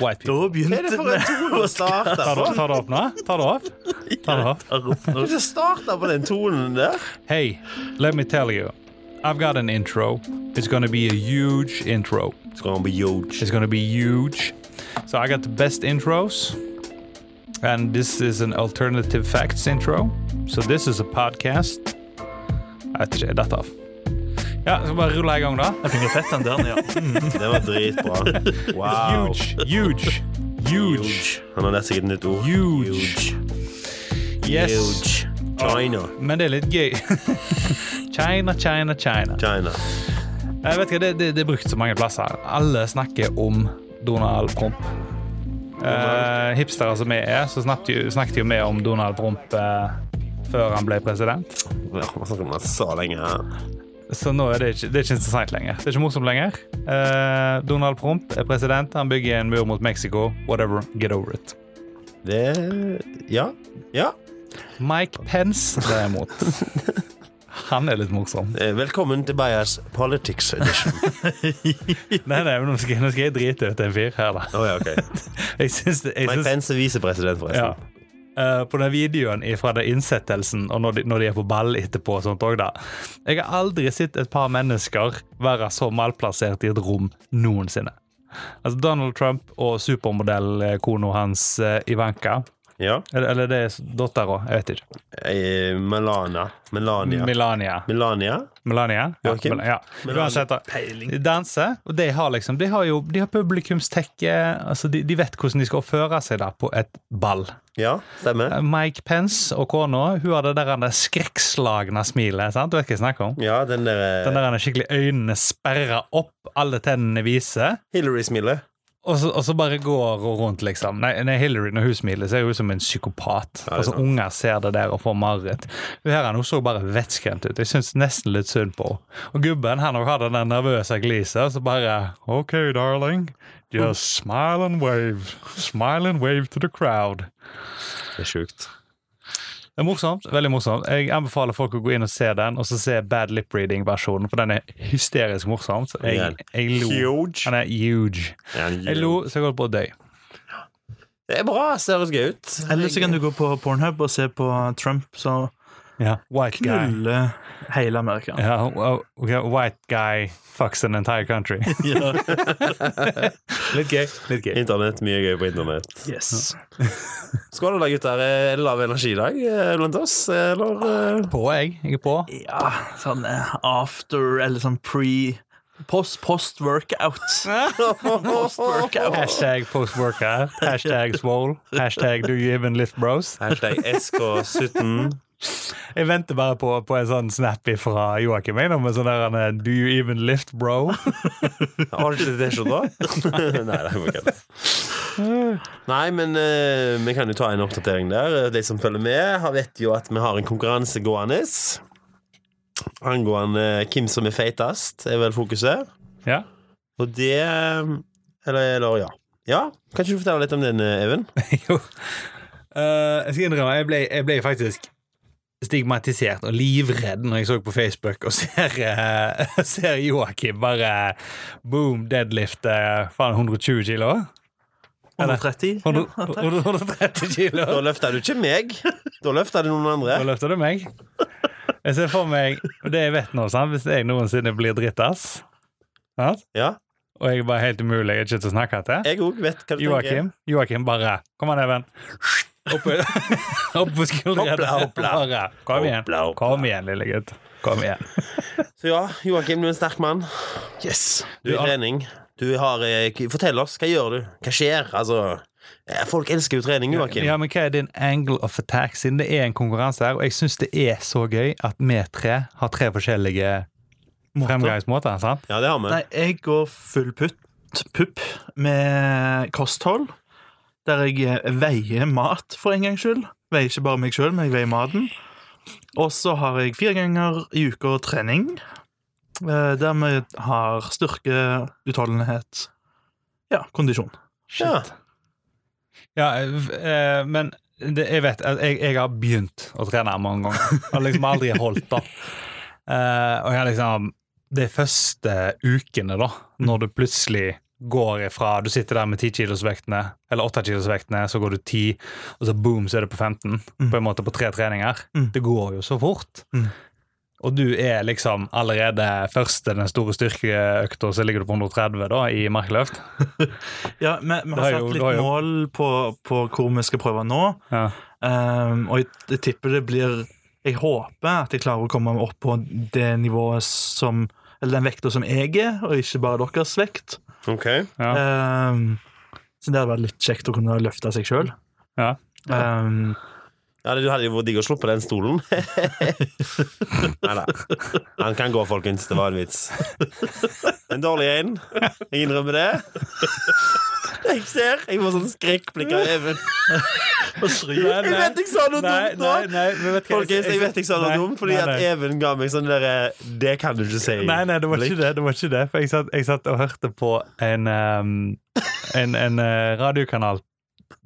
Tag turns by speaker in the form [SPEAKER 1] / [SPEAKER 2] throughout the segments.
[SPEAKER 1] White
[SPEAKER 2] Da
[SPEAKER 1] people.
[SPEAKER 2] begynte
[SPEAKER 3] Hva er det for en tone å starte
[SPEAKER 1] Tar du,
[SPEAKER 3] på?
[SPEAKER 1] tar du opp nå? Tar du opp? Tar du opp?
[SPEAKER 3] Hva er det starta på den tonen der?
[SPEAKER 1] Hey, let me tell you. I've got an intro. It's gonna be a huge intro.
[SPEAKER 3] Skal han bli huge?
[SPEAKER 1] It's gonna be huge. So I got the best intros. And this is an alternative facts intro. So this is a podcast. Ah, Jeg vet ikke, jeg detter av. Ja, så bare ruller jeg i gang, da.
[SPEAKER 2] Jeg finner fett den der, ja.
[SPEAKER 3] Det var dritbra. Wow.
[SPEAKER 1] Huge, huge, huge.
[SPEAKER 3] Huge. Han har nesten ikke et nytt ord.
[SPEAKER 1] Huge. Yes.
[SPEAKER 3] Huge. China.
[SPEAKER 1] Men det er litt gøy. China, China, China.
[SPEAKER 3] China.
[SPEAKER 1] Jeg Eh, vet ikke, det, det, det er brukt så mange plasser. Alle snakker om Donald Trump. Eh, hipstere som jeg er, så snakket jo, snakket jo vi om Donald Trump eh, før han ble president.
[SPEAKER 3] Ja, man snakker om det så lenge. her.
[SPEAKER 1] Så nå er det ikke, det er ikke interessant lenger. Det er ikke morsomt lenger. Eh, Donald Trump er president. Han bygger en mur mot Mexico. Whatever. Get over it.
[SPEAKER 3] Det Ja. Ja.
[SPEAKER 1] Mike Pence, derimot. Han er litt morsom.
[SPEAKER 3] Eh, Velkommen til Bias Politics Edition.
[SPEAKER 1] Nei, nei, men nå skal, jeg- nå skal jeg drite ut en fyr her, da.
[SPEAKER 3] Å ja, OK.
[SPEAKER 1] Jeg syns det- jeg
[SPEAKER 3] Mike
[SPEAKER 1] syns-
[SPEAKER 3] Pence er
[SPEAKER 1] Ja.
[SPEAKER 3] visepresident, forresten.
[SPEAKER 1] Eh, på den videoen fra den innsettelsen og når de, når de er på ball etterpå og sånt også da. Jeg har aldri sett et par mennesker være så malplassert i et rom noensinne. Altså Donald Trump og supermodellkona hans eh, Ivanka
[SPEAKER 3] Ja.
[SPEAKER 1] Eller, eller det er dattera, jeg vet ikke.
[SPEAKER 3] Eh, Melana. Melania.
[SPEAKER 1] Melania.
[SPEAKER 3] Melania?
[SPEAKER 1] Melania? Ja,
[SPEAKER 3] Joakim?
[SPEAKER 1] Mel- ja.
[SPEAKER 3] Melania
[SPEAKER 1] Uansett, da.
[SPEAKER 2] Peiling.
[SPEAKER 1] Danse. Og de har liksom De har jo de har publikumstekke altså de, de vet hvordan de skal oppføre seg da på et ball.
[SPEAKER 3] Ja, stemmer.
[SPEAKER 1] Mike Pence og kona hun har det der han der skrekkslagne smilet. sant? Du vet hva jeg snakker om?
[SPEAKER 3] Ja, den der, eh,
[SPEAKER 1] Den der han er skikkelig øynene sperra opp, alle tennene viser,
[SPEAKER 3] Hillary-smilet.
[SPEAKER 1] og så, og så bare går hun rundt, liksom. Nei, nei, Hillary, når hun smiler, så er hun som en psykopat.
[SPEAKER 3] Ja, det er
[SPEAKER 1] altså,
[SPEAKER 3] sant.
[SPEAKER 1] Unger ser det der og får mareritt. Hun her hun så bare vettskremt ut. Jeg syns nesten litt synd på henne. Og gubben han også har den der nervøse gliset, og så bare OK, darling. Just smile and wave. Smile and wave to the crowd.
[SPEAKER 3] Det er sjukt.
[SPEAKER 1] Det er morsomt, veldig morsomt. Jeg anbefaler folk å gå inn og se den, og så se Bad Lip Reading-versjonen, for den er hysterisk morsom. Så jeg, jeg lo.
[SPEAKER 3] Huge.
[SPEAKER 1] Han er huge. Jeg lo så jeg holdt på å dø.
[SPEAKER 3] Det er bra. Ser det gøy ut.
[SPEAKER 2] Eller så kan du gå på Pornhub og se på Trump som
[SPEAKER 1] Ja, White guy.
[SPEAKER 2] knuller hele Amerika.
[SPEAKER 1] Ja, wow, ok, white guy fucks an entire country.
[SPEAKER 2] Ja.
[SPEAKER 1] Litt gøy. litt gøy.
[SPEAKER 3] Internett. Mye gøy på internett.
[SPEAKER 2] Yes.
[SPEAKER 3] Skål da, gutter. Er det lav energi i dag eh, blant oss, eller? eh?
[SPEAKER 1] På, jeg. Jeg er på.
[SPEAKER 2] Ja, sånn eh, after eller sånn pre Post, post workout. Post workout.
[SPEAKER 1] Hashtag postworker. Hashtag swole. Hashtag do you even lift bros.
[SPEAKER 3] Hashtag SK17.
[SPEAKER 1] Jeg venter bare på, på en sånn snappy fra Joakim jeg, nå, med sånn der han er, do you even lift bro.
[SPEAKER 3] Har du ikke T-skjorta? Nei, det er ikke det. Nei, men eh, vi kan jo ta en oppdatering der. De som følger med, har- vet jo at vi har en konkurranse gående. Angående eh, hvem som er feitest, er vel fokuset.
[SPEAKER 1] Ja.
[SPEAKER 3] Og det eh, Eller, eller ja. ja. Kan ikke du fortelle litt om den, eh, Even?
[SPEAKER 1] Jo. Eh, jeg skal innrømme, jeg ble, jeg ble faktisk stigmatisert og livredd når jeg så på Facebook og ser, eh, ser Joakim bare boom, deadlift eh, faen 120 kilo.
[SPEAKER 2] 130.
[SPEAKER 1] Hundre-
[SPEAKER 2] Ja, takk.
[SPEAKER 1] 130 kilo.
[SPEAKER 3] Da løfter du ikke meg. Da løfter du noen
[SPEAKER 1] Nå
[SPEAKER 3] andre.
[SPEAKER 1] løfter du meg. Jeg ser for meg og det jeg vet nå, sant? hvis jeg noensinne blir drittas, sant?
[SPEAKER 3] Ja,
[SPEAKER 1] og jeg er bare helt umulig, jeg er ikke til å snakke til
[SPEAKER 3] jeg òg vet hva du tenker.
[SPEAKER 1] Joakim, Joakim bare Kom an, Even. Opp, opp på skuldrene.
[SPEAKER 3] Hoppla, hoppla.
[SPEAKER 1] Bare, Kom igjen,
[SPEAKER 3] Hoppla, hoppla.
[SPEAKER 1] Kom igjen lille gutt. Kom igjen.
[SPEAKER 3] Så ja, Joakim, du er en sterk mann.
[SPEAKER 2] Yes.
[SPEAKER 3] Du er i
[SPEAKER 1] Du,
[SPEAKER 3] trening. Du har eh, k- Fortell oss, hva gjør du? Hva skjer? Altså eh, Folk elsker jo trening, Joakim.
[SPEAKER 1] ja, men Hva er din angle of attack, siden det er en konkurranse her? Og jeg syns det er så gøy at vi tre har tre forskjellige fremgangsmåter. sant?
[SPEAKER 3] Ja, det har vi.
[SPEAKER 2] Nei, jeg går full putt, pupp med kosthold. Der jeg eh, veier mat, for en gangs skyld. Veier ikke bare meg sjøl, men jeg veier maten. Og så har jeg fire ganger i uka trening. eh, Der vi har styrke, utholdenhet Ja, kondisjon.
[SPEAKER 3] Ja.
[SPEAKER 1] Shit. Ja, eh, men det, jeg vet at jeg, jeg har begynt å trene mange ganger. Og liksom aldri holdt, da. Eh, og jeg har liksom De første ukene, da, når du plutselig går ifra Du sitter der med 10 kilos vektene, eller 8 kilos vektene, så går du 10, og så boom, så er det på 15.
[SPEAKER 2] Mm.
[SPEAKER 1] På en måte på tre treninger.
[SPEAKER 2] Mm.
[SPEAKER 1] Det går jo så fort.
[SPEAKER 2] Mm.
[SPEAKER 1] Og du er liksom allerede første den store styrkeøkta, så ligger du på 130 da, i markløft.
[SPEAKER 2] Ja, vi,
[SPEAKER 1] Det
[SPEAKER 2] vi
[SPEAKER 1] har
[SPEAKER 2] har
[SPEAKER 1] jo-
[SPEAKER 2] satt
[SPEAKER 1] det har
[SPEAKER 2] litt
[SPEAKER 1] jo-
[SPEAKER 2] mål på, på hvor vi skal prøve nå.
[SPEAKER 1] Ja.
[SPEAKER 2] Um, og jeg, jeg tipper det blir Jeg håper at jeg klarer å komme opp på det nivået som Eller den vekta som jeg er, og ikke bare deres vekt.
[SPEAKER 3] OK.
[SPEAKER 1] Ja.
[SPEAKER 2] Um, så det hadde vært litt kjekt å kunne løfte seg sjøl.
[SPEAKER 1] Ja.
[SPEAKER 2] Um,
[SPEAKER 3] Ja, det hadde jo vært digg å slå på den stolen. Nei da. Han kan gå, folkens. Det var en vits. En dårlig en. Jeg innrømmer det. Jeg ser. Jeg får sånn skrekkblikk av Even.
[SPEAKER 1] Nei,
[SPEAKER 3] Jeg vet jeg sa noe
[SPEAKER 1] Nei,
[SPEAKER 3] dumt nå.
[SPEAKER 1] nei, nei, men vet du hva,
[SPEAKER 3] Folkens, jeg vet jeg sa noe
[SPEAKER 1] Nei,
[SPEAKER 3] dumt, fordi
[SPEAKER 1] nei,
[SPEAKER 3] at
[SPEAKER 1] nei.
[SPEAKER 3] Even ga meg sånn derre Det kan du ikke si.
[SPEAKER 1] Nei, nei, det var ikke det. det, var ikke det For jeg satt, jeg satt og hørte på en, ehm, en, en eh, radiokanal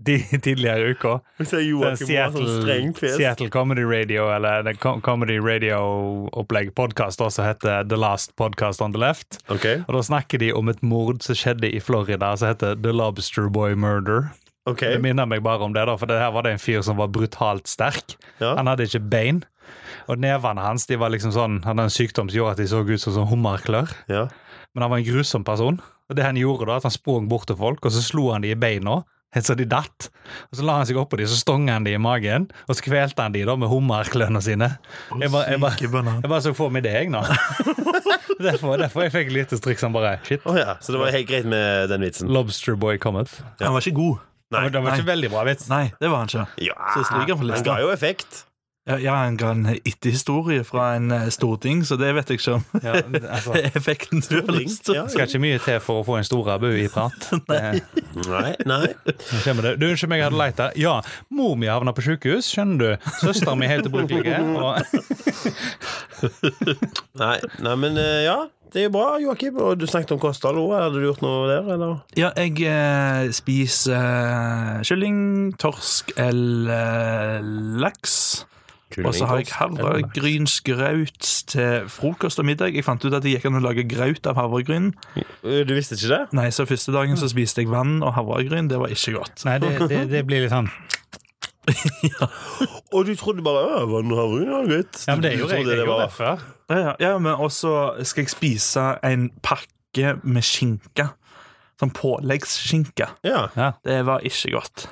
[SPEAKER 1] de, tidligere i uka.
[SPEAKER 3] Jeg sier
[SPEAKER 1] Den
[SPEAKER 3] Joakim var sånn streng
[SPEAKER 1] Seattle,
[SPEAKER 3] fjes.
[SPEAKER 1] Seattle Comedy Radio, eller den co- Comedy Radio-opplegg podkast, som heter The eh, Last Podcast on the Left.
[SPEAKER 3] OK.
[SPEAKER 1] Og Da snakker de om et mord som skjedde i Florida, som heter The Lobster Boy Murder.
[SPEAKER 3] ok
[SPEAKER 1] Det minner meg bare om det, da for det her var det en fyr som var brutalt sterk.
[SPEAKER 3] ja.
[SPEAKER 1] Han hadde ikke bein. Og nevene hans de var liksom sånn, han hadde en sykdom som gjorde at de så ut som sånn hummerklør.
[SPEAKER 3] ja.
[SPEAKER 1] Men han var en grusom person. Og det Han gjorde da, at han sprang bort til folk, og så slo han de i beina. Helt så de datt. Og Så la han seg oppå de, så stonga han de i magen, og så kvelte han de da med hummerklørne sine. Jeg bare, jeg bare,
[SPEAKER 2] syke banan.
[SPEAKER 1] jeg bare så for meg det, jeg, nå. derfor, derfor jeg fikk et lite strikk som bare Shit.
[SPEAKER 3] Å ja. Så det var helt greit med den vitsen.
[SPEAKER 1] Lobster boy cometh.
[SPEAKER 2] Han var ikke god.
[SPEAKER 1] Det var ikke veldig bra vits.
[SPEAKER 2] Nei, det var han ikke.
[SPEAKER 3] Ja,
[SPEAKER 2] Så stryker han på
[SPEAKER 3] den
[SPEAKER 2] lista.
[SPEAKER 3] ga jo effekt.
[SPEAKER 2] Ja, ja, han ga en etterhistorie fra en eh, storting, så det vet jeg ikke om
[SPEAKER 1] Ja, altså,
[SPEAKER 2] effekten du har lyst til.
[SPEAKER 3] Ja.
[SPEAKER 1] det skal ikke mye til for å få en stor abu i prat. Nei.
[SPEAKER 3] Nei, nei.
[SPEAKER 1] Nå kommer det. Du, unnskyld meg, jeg hadde leita. Ja, mor mi havna på sjukehus, skjønner du. Søsteren min er helt ubrukelig. Og
[SPEAKER 3] Nei, nei, men eh, ja, det er jo bra, Joakim. Og du snakket om kosthold òg. Hadde du gjort noe der, eller?
[SPEAKER 2] Ja, jeg eh, spiser eh, kylling, torsk eller eh, laks. Og så har jeg havregrynsgraut til frokost og middag. Jeg fant ut at det gikk an å lage graut av havregryn.
[SPEAKER 3] Eh, Du visste ikke det?
[SPEAKER 2] Nei, så første dagen så spiste jeg vann og havregryn. Det var ikke godt.
[SPEAKER 1] Nei, det, det, det blir litt sånn
[SPEAKER 3] Og du trodde bare «Å, vann og havregryn, ja, greit.
[SPEAKER 1] Ja, men det gjorde jeg.
[SPEAKER 3] trodde
[SPEAKER 1] Jeg
[SPEAKER 3] det
[SPEAKER 1] gjorde det
[SPEAKER 3] var-
[SPEAKER 1] før.
[SPEAKER 2] Ja, ja, ja, men også skal jeg spise en pakke med skinke. Sånn påleggsskinke.
[SPEAKER 3] Ja.
[SPEAKER 2] Det var ikke godt.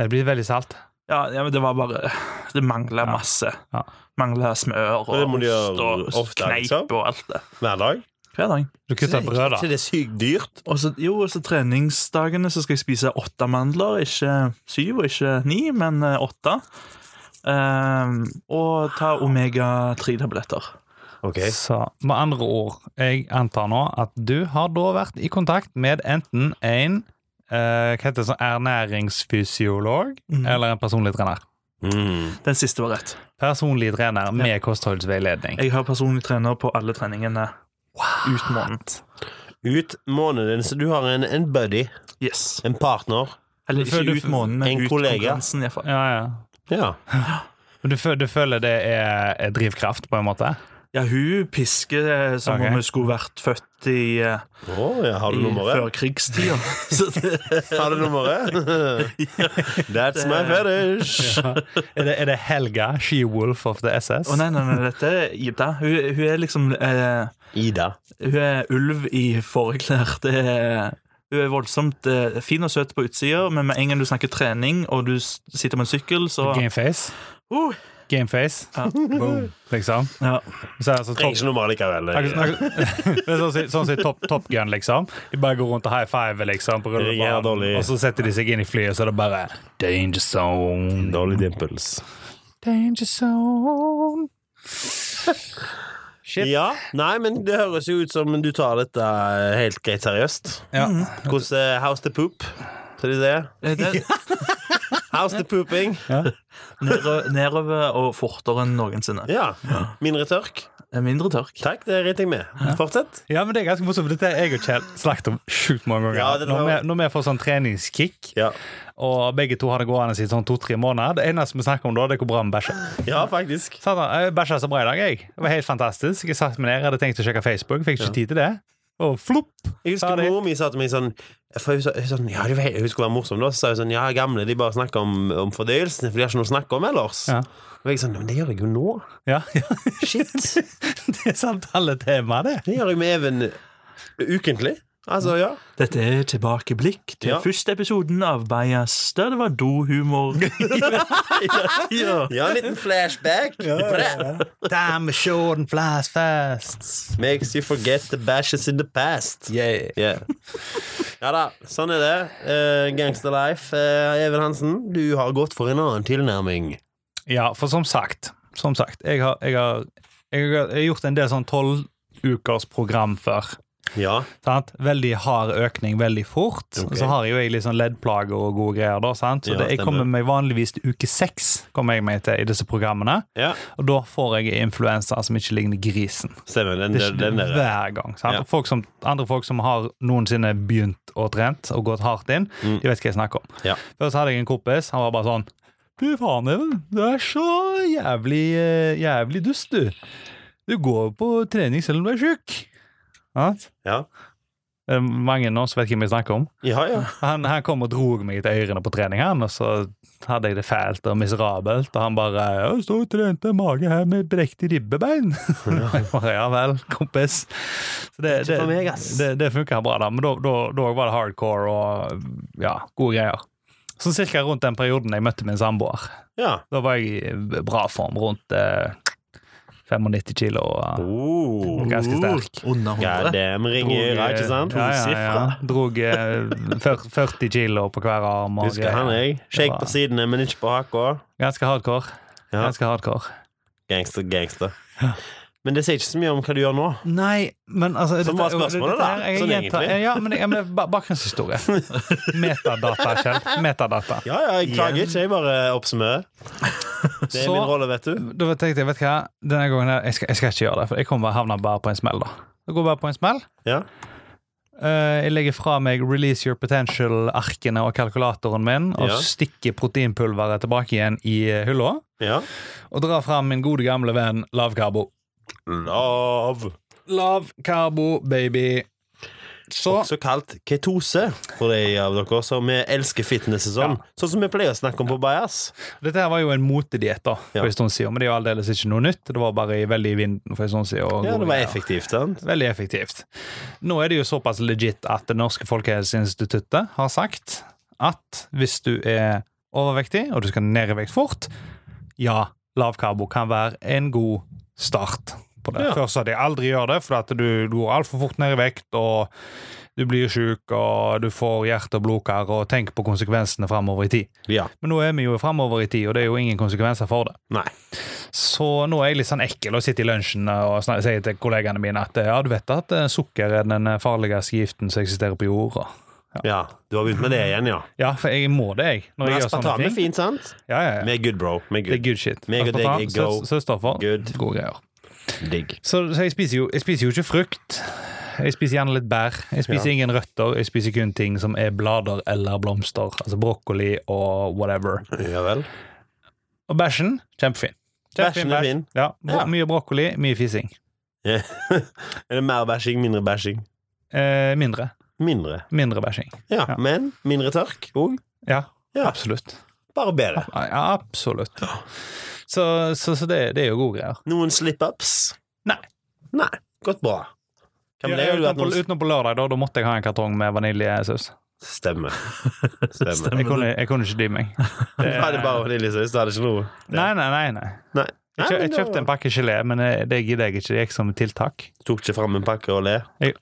[SPEAKER 1] Det blir veldig salt.
[SPEAKER 2] Ja, ja men det var bare Det mangla masse.
[SPEAKER 1] Ja.
[SPEAKER 2] Mangla smør og
[SPEAKER 3] Og det må de
[SPEAKER 2] ost
[SPEAKER 3] gjøre
[SPEAKER 2] og
[SPEAKER 3] ofte,
[SPEAKER 2] kneip
[SPEAKER 3] liksom.
[SPEAKER 2] og alt det.
[SPEAKER 3] Hver dag.
[SPEAKER 2] Hver dag.
[SPEAKER 1] Du kutter brød, da.
[SPEAKER 3] Så det er sykt dyrt.
[SPEAKER 2] Og så, jo, og så treningsdagene så skal jeg spise åtte mandler. Ikke syv og ikke ni, men eh, åtte. Ehm, og ta omega-3-tabletter.
[SPEAKER 3] Ok
[SPEAKER 1] Så med andre ord, jeg antar nå at du har da vært i kontakt med enten en eh, hva heter det, sånn ernæringsfysiolog
[SPEAKER 2] Mhm.
[SPEAKER 1] eller en personlig trener.
[SPEAKER 3] mm.
[SPEAKER 2] Den siste var rett.
[SPEAKER 1] Personlig trener med kostholdsveiledning.
[SPEAKER 2] Jeg har personlig trener på alle treningene ut måned.
[SPEAKER 3] Ut måneden, så du har en, en buddy,
[SPEAKER 2] Yes.
[SPEAKER 3] en partner.
[SPEAKER 2] Eller
[SPEAKER 1] Du føler-
[SPEAKER 2] ikke ut måneden, men
[SPEAKER 3] en
[SPEAKER 2] ut
[SPEAKER 3] kollega.
[SPEAKER 2] konkurransen. i hvert fall.
[SPEAKER 1] Ja, ja.
[SPEAKER 3] Ja.
[SPEAKER 1] Men du, fø- du føler det er, er drivkraft, på en måte?
[SPEAKER 2] Ja, hun pisker eh, som
[SPEAKER 1] Ok.
[SPEAKER 2] om hun skulle vært født i, eh,
[SPEAKER 3] Å, ja. Har
[SPEAKER 2] i
[SPEAKER 3] du nummeret?
[SPEAKER 2] førkrigstida. Så det-
[SPEAKER 3] Har du nummeret? That's my fetish.
[SPEAKER 1] er, det, er det Helga, she-wolf of the SS?
[SPEAKER 2] Å nei, nei, nei, dette er Ida. Hun, hun er liksom eh,
[SPEAKER 3] Ida.
[SPEAKER 2] Hun er ulv i fåreklær. Det er- Hun er voldsomt eh, fin og søt på utsida, men med en gang du snakker trening, og du s- sitter på en sykkel, så
[SPEAKER 1] Gameface.
[SPEAKER 2] Uh.
[SPEAKER 1] Gameface.
[SPEAKER 2] Ja.
[SPEAKER 1] Boom, liksom.
[SPEAKER 2] ja.
[SPEAKER 1] Så er det sånn
[SPEAKER 3] Trenger
[SPEAKER 1] topp,
[SPEAKER 3] ikke nummer likevel.
[SPEAKER 1] det er sånn som- sånn som i Top, top Gun, liksom. De bare går rundt og high five liksom, på
[SPEAKER 3] Det er
[SPEAKER 1] rullebanen,
[SPEAKER 3] dårlig.
[SPEAKER 1] og så setter de seg inn i flyet, så er det bare Danger zone.
[SPEAKER 3] Dårlig dimples.
[SPEAKER 1] Danger zone. Shit.
[SPEAKER 3] Ja, nei, men det høres jo ut som du tar dette eh, helt greit seriøst.
[SPEAKER 1] Ja.
[SPEAKER 2] Mm.
[SPEAKER 3] Hvordan eh, How's the poop? Skal de det?
[SPEAKER 2] Eh, det er
[SPEAKER 3] How's the pooping?
[SPEAKER 2] nedø- nedover og fortere enn noensinne.
[SPEAKER 3] Ja. Mindre tørk?
[SPEAKER 2] Det er Mindre tørk.
[SPEAKER 3] Takk, det riter jeg med. Fortsett.
[SPEAKER 1] ja, men det er ganske morsomt. for Dette har jeg og Kjell snakket om sjukt mange ganger.
[SPEAKER 3] Ja, det-
[SPEAKER 1] når, vi, når vi får sånn treningskick,
[SPEAKER 3] Ja,
[SPEAKER 1] og begge to har det gående i sånn to-tre måneder, det eneste vi snakker om da, det er hvor bra vi bæsjer.
[SPEAKER 3] ja faktisk.
[SPEAKER 1] Satan, jeg bæsja så bra i dag, jeg. Det var helt fantastisk. Jeg satt meg ned, jeg hadde tenkt å sjekke Facebook, fikk ikke tid til det. Og flopp!
[SPEAKER 3] Jeg husker
[SPEAKER 1] Ferdig.
[SPEAKER 3] mor mi sa til meg sånn for hun, sa, hun, sånn, ja, du vet, hun skulle være morsom, da. Så sa hun sånn Ja, gamle de bare snakker om, om fordøyelsen, for de har ikke noe å snakke om ellers.
[SPEAKER 1] Ja.
[SPEAKER 3] Og jeg sånn Men det gjør jeg jo nå.
[SPEAKER 1] Ja, ja.
[SPEAKER 3] Shit.
[SPEAKER 1] Det er samtaletema, det.
[SPEAKER 3] Det gjør jeg med Even eh, ukentlig. Altså, ja.
[SPEAKER 2] Dette er tilbakeblikk til
[SPEAKER 3] Ja.
[SPEAKER 2] første episoden av Bias, der det var dohumor. ja.
[SPEAKER 3] Ja, en liten flashback på det.
[SPEAKER 1] Damn, shorten flies fast.
[SPEAKER 3] Makes you forget the bashes in the past.
[SPEAKER 1] Yeah.
[SPEAKER 3] Yeah. Ja da, sånn er det. Eh, gangster life. Eh, Even Hansen, du har gått for en annen tilnærming.
[SPEAKER 1] Ja, for som sagt, som sagt jeg, har, jeg, har, jeg har jeg har gjort en del sånn tolvukersprogram før.
[SPEAKER 3] Ja.
[SPEAKER 1] Sant? Veldig hard økning veldig fort.
[SPEAKER 3] Ok.
[SPEAKER 1] Så har jeg jo jeg litt sånn leddplager og gode greier. da, sant? Så
[SPEAKER 3] Ja,
[SPEAKER 1] det, Jeg
[SPEAKER 3] stemmer.
[SPEAKER 1] kommer meg vanligvis til uke seks kommer jeg meg til i disse programmene.
[SPEAKER 3] ja.
[SPEAKER 1] Og da får jeg influensa som ikke ligner grisen.
[SPEAKER 3] Stemmer. Den,
[SPEAKER 1] Det
[SPEAKER 3] den,
[SPEAKER 1] er ikke
[SPEAKER 3] den der.
[SPEAKER 1] hver gang. Sant?
[SPEAKER 3] Ja.
[SPEAKER 1] Og Folk som, andre folk som har noensinne begynt å trent og gått hardt inn,
[SPEAKER 3] Mm.
[SPEAKER 1] de vet hva jeg snakker om.
[SPEAKER 3] Ja.
[SPEAKER 1] Først hadde jeg en kompis, han var bare sånn Du faen, Even, du er så jævlig, eh, jævlig dust, du. Du går på trening selv om du er tjukk. Sant?
[SPEAKER 3] Ja.
[SPEAKER 1] Det er Eh, Mange nå som vet hvem jeg snakker om.
[SPEAKER 3] Ja, ja.
[SPEAKER 1] Han, han kom og drog meg til ørene på trening, han, og så hadde jeg det fælt og miserabelt, og han bare «Jeg står og trente mage her med brekte ribbebein. Jeg bare, ja vel, kompis. Så det,
[SPEAKER 3] Ikke
[SPEAKER 1] det,
[SPEAKER 3] for meg,
[SPEAKER 1] det,
[SPEAKER 3] ass.
[SPEAKER 1] det, funka bra, da, men da- da da var det hardcore og ja, gode greier. Så cirka rundt den perioden jeg møtte min samboer.
[SPEAKER 3] ja.
[SPEAKER 1] Da var jeg i bra form, rundt eh, 95 kilo. Og,
[SPEAKER 3] Oh.
[SPEAKER 1] Ganske sterk.
[SPEAKER 2] Oh, Under 100.
[SPEAKER 3] God damn, ring i øra, ikke sant?
[SPEAKER 1] Ja, ja, ja.
[SPEAKER 2] Tosifra.
[SPEAKER 1] Drog eh, fyr- 40 kilo på hver arm. og
[SPEAKER 3] Husker
[SPEAKER 1] greier.
[SPEAKER 3] han, jeg.
[SPEAKER 1] Det
[SPEAKER 3] Shake
[SPEAKER 1] var-
[SPEAKER 3] på sidene, men ikke på haka.
[SPEAKER 1] Ganske hardcore.
[SPEAKER 3] Ja.
[SPEAKER 1] Ganske hardcore.
[SPEAKER 3] Gangster, gangster. Men det sier ikke så mye om hva du gjør nå.
[SPEAKER 1] Nei, men altså
[SPEAKER 3] Som var spørsmålet, da.
[SPEAKER 1] Jeg,
[SPEAKER 3] Sånn
[SPEAKER 1] jeg gjentar,
[SPEAKER 3] egentlig.
[SPEAKER 1] ja, men, ja, men det er ba- bakgrunnshistorie. Metadata, Kjell. Metadata.
[SPEAKER 3] Ja, ja, jeg klager ikke, jeg bare oppsummerer. Det er
[SPEAKER 1] Så-
[SPEAKER 3] min rolle, vet du.
[SPEAKER 1] Da tenkte jeg, vet du hva, denne gangen her, jeg skal, jeg skal ikke gjøre det, for jeg kommer bare havne bare på en smell, da. Jeg går bare på en smell.
[SPEAKER 3] Ja.
[SPEAKER 1] Eh, jeg legger fra meg Release Your Potential-arkene og kalkulatoren min, og
[SPEAKER 3] Ja.
[SPEAKER 1] stikker proteinpulveret tilbake igjen i eh, hylla,
[SPEAKER 3] ja.
[SPEAKER 1] og drar fram min gode gamle venn lavkarbo.
[SPEAKER 3] Lav.
[SPEAKER 1] Lavkarbo, baby. Så
[SPEAKER 3] Også kalt ketose, for de av dere som eh, elsker fitness og sånn. Sånn som vi pleier å snakke om på Bajas.
[SPEAKER 1] Dette her var jo en motediett, da,
[SPEAKER 3] Ja.
[SPEAKER 1] for en stund siden, men det er jo aldeles ikke noe nytt. Det var bare i- veldig i vinden for en stund siden. og
[SPEAKER 3] Ja, det
[SPEAKER 1] gode
[SPEAKER 3] var
[SPEAKER 1] greier.
[SPEAKER 3] effektivt, sant?
[SPEAKER 1] Veldig effektivt. Nå er det jo såpass legit at Det norske folkehelseinstituttet har sagt at hvis du er overvektig, og du skal ned i vekt fort, ja, lavkarbo kan være en god start på det.
[SPEAKER 3] Ja.
[SPEAKER 1] Først sa de aldri gjør det, for at du går altfor fort ned i vekt, og du blir syk, og du får hjerte- og blodkar, og tenk på konsekvensene framover i tid.
[SPEAKER 3] Ja.
[SPEAKER 1] Men nå er vi jo framover i tid, og det er jo ingen konsekvenser for det.
[SPEAKER 3] Nei.
[SPEAKER 1] Så nå er jeg litt sånn ekkel og sitter i lunsjen og snak- sier til kollegene mine at ja, du vet at eh, sukker er den farligste giften som eksisterer på jorda.
[SPEAKER 3] Ja, du har begynt med det igjen, ja.
[SPEAKER 1] Ja, for jeg må det, jeg. Når
[SPEAKER 3] Men
[SPEAKER 1] jeg gjør sånne
[SPEAKER 3] aspartam er
[SPEAKER 1] ting.
[SPEAKER 3] fint, sant?
[SPEAKER 1] Ja, ja, ja.
[SPEAKER 3] Vi er good, bro. Vi er
[SPEAKER 1] Det er
[SPEAKER 3] good.
[SPEAKER 1] good shit.
[SPEAKER 3] Meg og deg
[SPEAKER 1] Aspartam,
[SPEAKER 3] er go-
[SPEAKER 1] sø- Søstoffer.
[SPEAKER 3] Good.
[SPEAKER 1] Gode greier.
[SPEAKER 3] Digg.
[SPEAKER 1] Så, så jeg, spiser jo, jeg spiser jo ikke frukt. Jeg spiser gjerne litt bær. Jeg spiser ingen røtter. Jeg spiser kun ting som er blader eller blomster. Altså brokkoli og whatever.
[SPEAKER 3] Ja vel.
[SPEAKER 1] Og bæsjen kjempefin.
[SPEAKER 3] Bæsjen
[SPEAKER 1] bæsj.
[SPEAKER 3] er fin.
[SPEAKER 1] Ja, bro
[SPEAKER 3] Ja.
[SPEAKER 1] Mye brokkoli, mye fising.
[SPEAKER 3] Er det mer bæsjing, mindre bæsjing?
[SPEAKER 1] Eh, mindre.
[SPEAKER 3] Mindre.
[SPEAKER 1] Mindre bæsjing.
[SPEAKER 3] Ja,
[SPEAKER 1] Ja.
[SPEAKER 3] men mindre tørk òg.
[SPEAKER 1] Ja,
[SPEAKER 3] Ja.
[SPEAKER 1] absolutt.
[SPEAKER 3] Bare bedre.
[SPEAKER 1] Ja, ja, absolutt. Så, så, så det, det er jo gode greier.
[SPEAKER 3] Noen slip-ups?
[SPEAKER 1] Nei.
[SPEAKER 3] Nei. Gått bra. Kan
[SPEAKER 1] Ja,
[SPEAKER 3] det jo
[SPEAKER 1] utenom,
[SPEAKER 3] være
[SPEAKER 1] på,
[SPEAKER 3] noen
[SPEAKER 1] utenom på lørdag, da, da måtte jeg ha en kartong med vaniljesaus.
[SPEAKER 3] Stemmer. Stemmer.
[SPEAKER 2] Stemmer.
[SPEAKER 1] Jeg kunne, jeg kunne ikke dy meg.
[SPEAKER 3] Du hadde bare vaniljesaus, du hadde ikke noe
[SPEAKER 1] Nei, nei, nei. nei.
[SPEAKER 3] Nei.
[SPEAKER 1] Jeg, kjø, jeg kjøpte en pakke gelé, men eh, det gidder jeg ikke. Det gikk som tiltak.
[SPEAKER 3] Tok ikke fram en pakke og le?